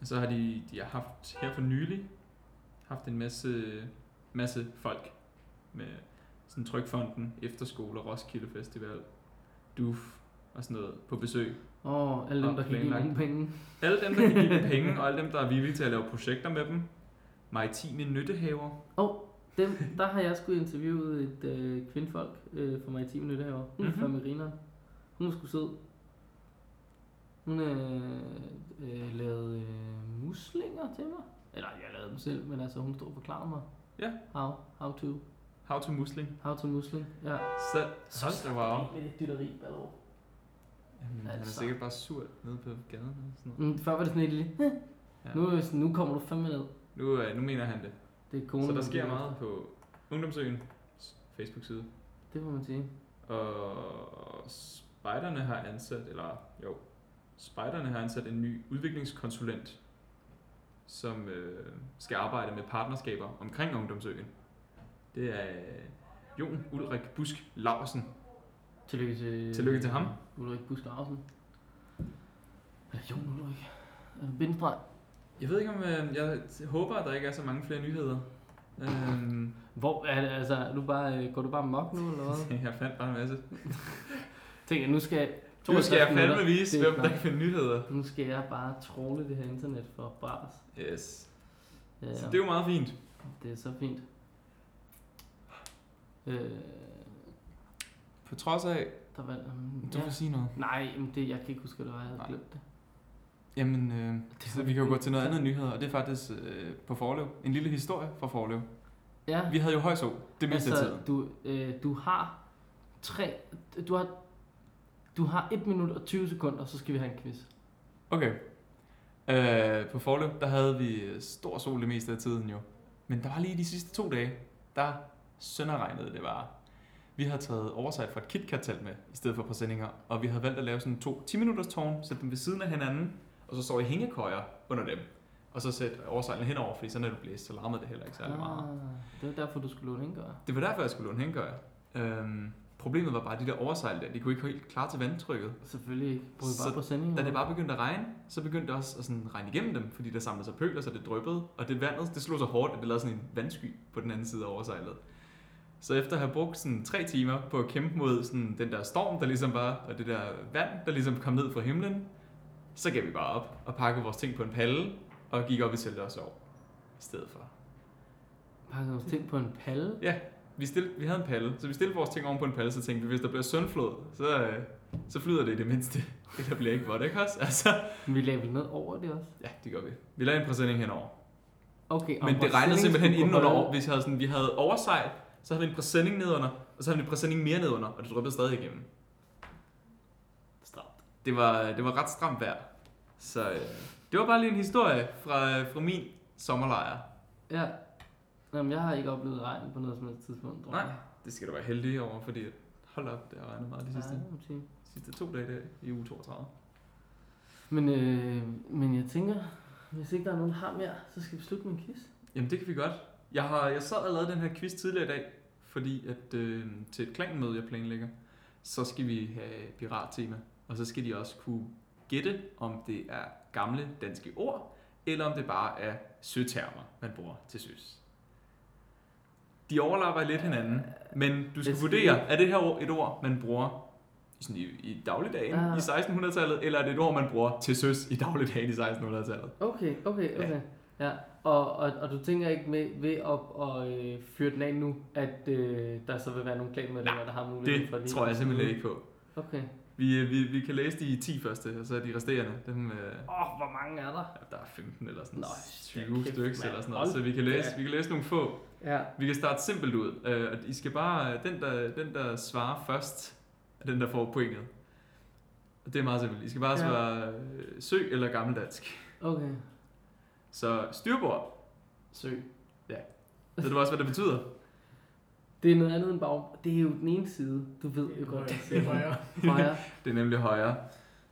Og så har de, de har haft her for nylig haft en masse, masse folk med sådan Trykfonden, Efterskole, Roskilde Festival, DUF og sådan noget på besøg. Åh, alle dem, Og der kan give planlagt. mange penge. Alle dem, der kan give dem penge, og alle dem, der er villige til at lave projekter med dem. Maritime nyttehaver. Dem, der har jeg sgu interviewet et øh, kvindfolk øh, fra mig i 10 minutter herovre. Hun er Mhm. fra Merina. Hun er sgu sød. Hun øh, øh, lavede øh, muslinger til mig. Eller jeg lavede dem selv, men altså hun stod og forklarede mig. Ja. How, how to, How to musling. how to musling. Ja. Så, så det var Med det dytteri, Ballerup. Jamen, han er Altså. sikkert bare sur nede på gaden og sådan noget. Mm, før var det sådan et lille, "Hæ." Ja. nu, er det sådan, nu kommer du fandme ned. Nu, øh, nu mener han det. Det er kone. Så der sker meget på Ungdomsøens Facebook-side. Det må man sige. Og spejderne har ansat, eller jo, spejderne har ansat en ny udviklingskonsulent, som øh, skal arbejde med partnerskaber omkring Ungdomsøen. Det er øh, Jon Ulrik Busk Larsen. Tillykke til, Tillykke til ham. Ulrik Busk Larsen. Eller Jon Ulrik. Øh, Bindestreg. Jeg ved ikke, om øh, jeg håber, at der ikke er så mange flere nyheder. Øhm, Hvor er det, altså, er du bare, øh, går du bare mok nu, eller hvad? Øh, jeg fandt bare en masse. Tænk, at nu skal jeg, Nu skal jeg 62 minutter. fandme vise, Det er hvem der klart. kan nyheder. Nu skal jeg bare tråle det her internet for bras. Yes. Ja, Så det er jo meget fint. det er så fint. Øh, På trods af, der var, um, du vil sige noget. Nej, men det, jeg kan ikke huske, hvad det var, jeg havde Nej. glemt det. Jamen, øh, Det så var vi kan jo gå fint. til noget andet nyheder, og det er faktisk øh, på Forlev. En lille historie fra Forlev. Ja, Vi havde jo højså det meste Altså- af tiden. du, øh, du har tre, du har, du har 1 minut og 20 sekunder, så skal vi have en quiz. Okay. Øh, på Forlev, der havde vi øh, stor sol det meste af tiden jo. Men der var lige de sidste to dage, der sønderregnede det bare. Vi havde taget oversight fra et KitKat-telt med, i stedet for præsendinger, og vi havde valgt at lave sådan to 10-minutters tårn, sætte dem ved siden af hinanden, og så sov i hængekøjer under dem. Og så sætte oversijlen henover, fordi så når det blæste, så larmede det heller ikke særlig meget. Ah, det var derfor, du skulle låne indgøre. Det var derfor, jeg skulle låne hængekøjer. Øhm, problemet var bare, at de der oversijl der, de kunne ikke helt klare til vandtrykket. Selvfølgelig ikke. Brug Så bare på sendingen. Da det bare begyndte at regne, så begyndte det også at sådan regne igennem dem, fordi der samlede sig pøler, så det dryppede. Og det vandet, det slog så hårdt, at det lavede sådan en vandsky på den anden side af oversijlet. Så efter at have brugt sådan tre timer på at kæmpe mod sådan den der storm, der ligesom var, og det der vand, der ligesom kom ned fra himlen, så gav vi bare op og pakkede vores ting på en palle og gik op i teltet og sov i stedet for. Pakker vores ting på en palle. vi, stille, vi havde en palle, så vi stillede vores ting oven på en palle, så tænkte vi, hvis der bliver søndflod, så, øh, så flyder det i det mindste. Det der bliver ikke vådt, ikke også? Altså, Men vi lagde vel noget over det også. ja, det gør vi. Vi lavede en præsending henover. Okay, og Men det vores regnede sending simpelthen skulle inden under holde- over. Hvis vi havde, sådan, vi havde oversigt, så havde vi en præsending nedunder, og så havde vi en præsending mere nedunder, og det dryppede stadig igennem. Stramt. Det var, det var ret stramt vejr. Så øh, det var bare lige en historie fra, øh, fra min sommerlejr. Ja. Jamen, jeg har ikke oplevet regn på noget som helst tidspunkt. tror Nej, jeg. det skal du være heldig over, fordi at- hold op, det har regnet meget de sidste, Ja, må sige. sidste to dage der, i uge 32. Men, øh, men jeg tænker, hvis ikke der er nogen, der har mere, så skal vi slutte med en quiz. Jamen det kan vi godt. Jeg, har, jeg sad og lavede den her quiz tidligere i dag, fordi at øh, til et klanmøde, jeg planlægger, så skal vi have pirattema. Og så skal de også kunne gætte, om det er gamle danske ord, eller om det bare er søtermer, man bruger til søs. De overlapper lidt hinanden, men du skal Det skal vurdere, vi- er det her ord et ord, man bruger i sådan i, i dagligdagen Ah. i 1600-tallet, eller er det et ord, man bruger til søs i dagligdagen i 1600-tallet? Okay, okay, Ja. okay. Ja. Og, og, og du tænker ikke med, ved at og, øh, fyre den af nu, at øh, der så vil være nogle klanmedlemmer, der har mulighed Det for lige- tror jeg simpelthen ikke på. Okay. Vi, øh, vi, vi kan læse de 10 første, og så de resterende. Dem, øh, Åh, oh, hvor mange er der? ja, der er 15 eller sådan Nå, 20 kæft, stykker mand. eller sådan noget, Hold så vi kan, læse, da. vi kan læse nogle få. Ja. Vi kan starte simpelt ud, øh, og I skal bare, øh, den der, den der svarer først, er den der får pointet. Og det er meget simpelt. I skal bare Ja. svare øh, sø eller gammeldansk. Okay. Så styrbord, Søg. ved du også, hvad det betyder? Det er noget andet end bag. Det er jo den ene side, du ved jo godt. Det er højere. Højre. Det er nemlig højre.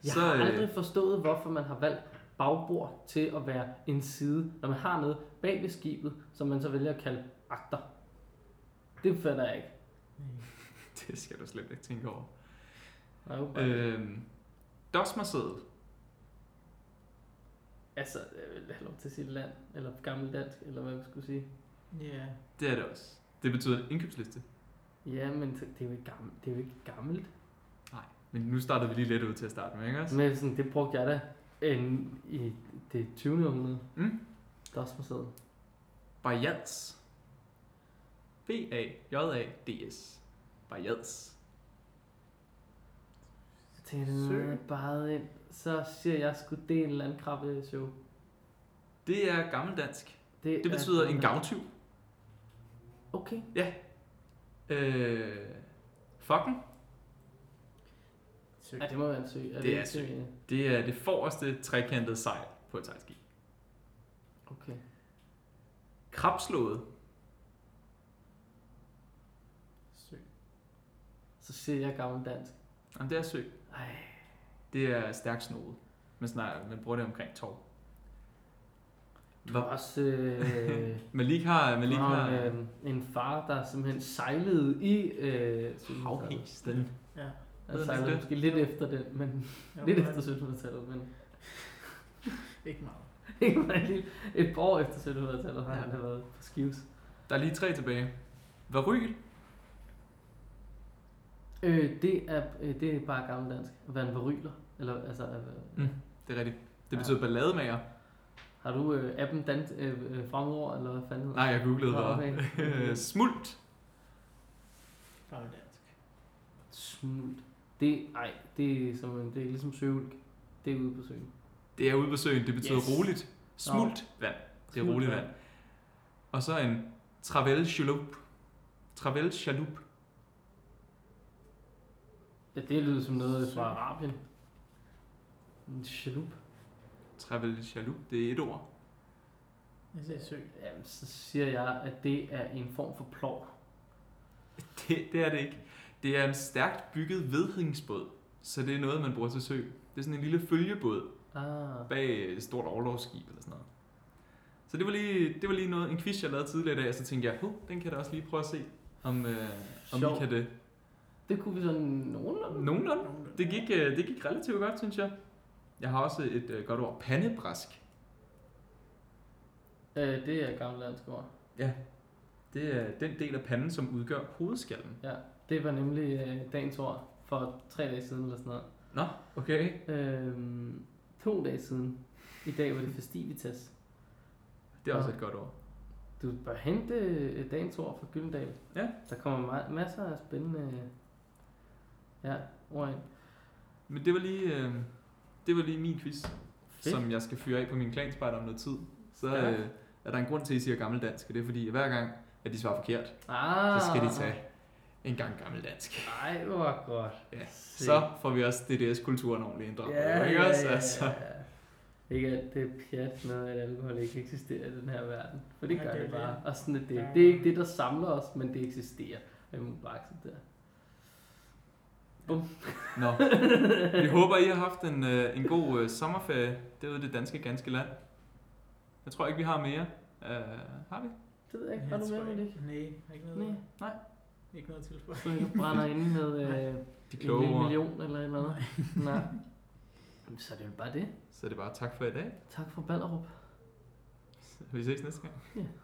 Jeg Så, har øh, aldrig forstået, hvorfor man har valgt bagbord til at være en side, når man har noget bag ved skibet, som man så vælger at kalde agter. Det fatter jeg ikke. Det skal du slet ikke tænke over. Nej, åbenbart. Øh, dosmersæde. Altså, jeg vil have lov til at sige land, eller gammel dansk, eller hvad vi skulle sige. Ja. Det er det også. Det betyder en indkøbsliste. Ja, men så- det er jo ikke gammelt. Det er jo ikke gammelt. Men nu starter vi lige lidt ud til at starte med, ikke også? Men sådan, det brugte jeg da en, i det 20. århundrede. Mm. Der er også forsædet. Bajans. B-A-J-A-D-S. Bajans. Jeg tænkte, det er noget, jeg bare ind. Så siger jeg sgu, det er en landkrabbe show. Det er gammeldansk. Det er- betyder en gavtyv. Okay. Øh, fucken. Søg. Ja, det må være en sø. Er Det er ikke, sø. øh, Det er det forreste trekantede sejl på et sejlskib. Okay. Krabslået. Søg. Så siger jeg gammel dansk. Jamen, det er sø. Ej, Det er stærkt snodet. Men snart, man bruger det omkring tov. du har også... Øh, Malik har... du Malik har har... en, øh, en far, der simpelthen sejlede i... Øh, 1700-tallet. Havhesten. Ja. Jeg Ved sejlede det? måske lidt efter den, men Jo, lidt men efter 1700-tallet, men Ikke meget. ikke meget lige- et par år efter 1700-tallet har Ja. han da været på Skives. Der er lige tre tilbage. Varyl. Øh, det, er, øh, det er bare gammeldansk. At være en varyler. Eller, altså, at, Mm. Det er rigtigt. Det betyder ballademager. har du øh, appen dan, øh, øh, fremover, eller hvad fanden hedder Nej, jeg googlede Nå, det. okay. Øh, Smult. Bare dansk. det? Smult. Det, ej, det er, som, en- det er ligesom søvulk. Det er ude på søen. Det er ude på søen. Det betyder Yes. yes. roligt. Smult vand. Det er Smult roligt vand. vand. Og så en travel chaloup. Travel chaloup. Ja, det lyder som noget fra Arabien. En chalup. Travel chaloup, det er et ord. Jeg siger søg. Jamen, så siger jeg, at det er en form for plov. Det, det er det ikke. Det er en stærkt bygget vedhængsbåd. Så det er noget, man bruger til sø. Det er sådan en lille følgebåd Ah, bag et stort overlovsskib eller sådan noget. Så det var lige, det var lige noget, en quiz, jeg lavede tidligere i dag, og så tænkte jeg, "Hov, den kan jeg da også lige prøve at se, om, øh, om Sjov. I kan det. det kunne vi sådan nogenlunde. Nogenlunde. Nogenlunde. Det gik, øh, det gik relativt godt, synes jeg. Jeg har også et øh, godt ord. Pandebræsk. Øh, det er gammeldansk ord. Det er den del af panden, som udgør hovedskallen. Det var nemlig øh, dagens ord for tre dage siden eller sådan noget. Nå, okay. Øhm, to dage siden. I dag var det festivitas. Det er også Nå. et godt ord. Du bør hente øh, dagens ord fra Gyldendal. Ja. Der kommer ma- masser af spændende øh, ja, ord ind. Men det var lige, øh, det var lige min quiz, som jeg skal fyre af på min klanspejder om noget tid. Så Ja. øh, er der en grund til, at I siger gammeldansk, og det er fordi, at hver gang, at de svarer forkert, Ah, så skal de tage en gang gammeldansk. Ej, hvor godt. Ja. Se. Så får vi også DDS-kulturen ordentligt inddraget. Ja, ikke ja, også? ja, Altså, ja. Ikke alt det pjat med, at alkohol ikke eksisterer i den her verden. For det Nej, gør det det, er det. bare. Og sådan, at det, Ja. det er ikke det, der samler os, men det eksisterer. Og vi må bare acceptere. Nå. Vi håber, I har haft en, øh, en god øh, sommerferie derude i det danske ganske land. Jeg tror ikke, vi har mere. Øh, har vi? Det ved jeg ikke. Har du Jeg med tror med det? ikke- Nej, har ikke noget. Nej. Nej. Ikke noget til Så du brænder inde med øh, De en kloge lille ord. million eller et eller andet. Nej. Jamen, Så er det jo bare det. Så er det bare tak for i dag. Tak for Ballerup. Vi ses næste gang. Ja.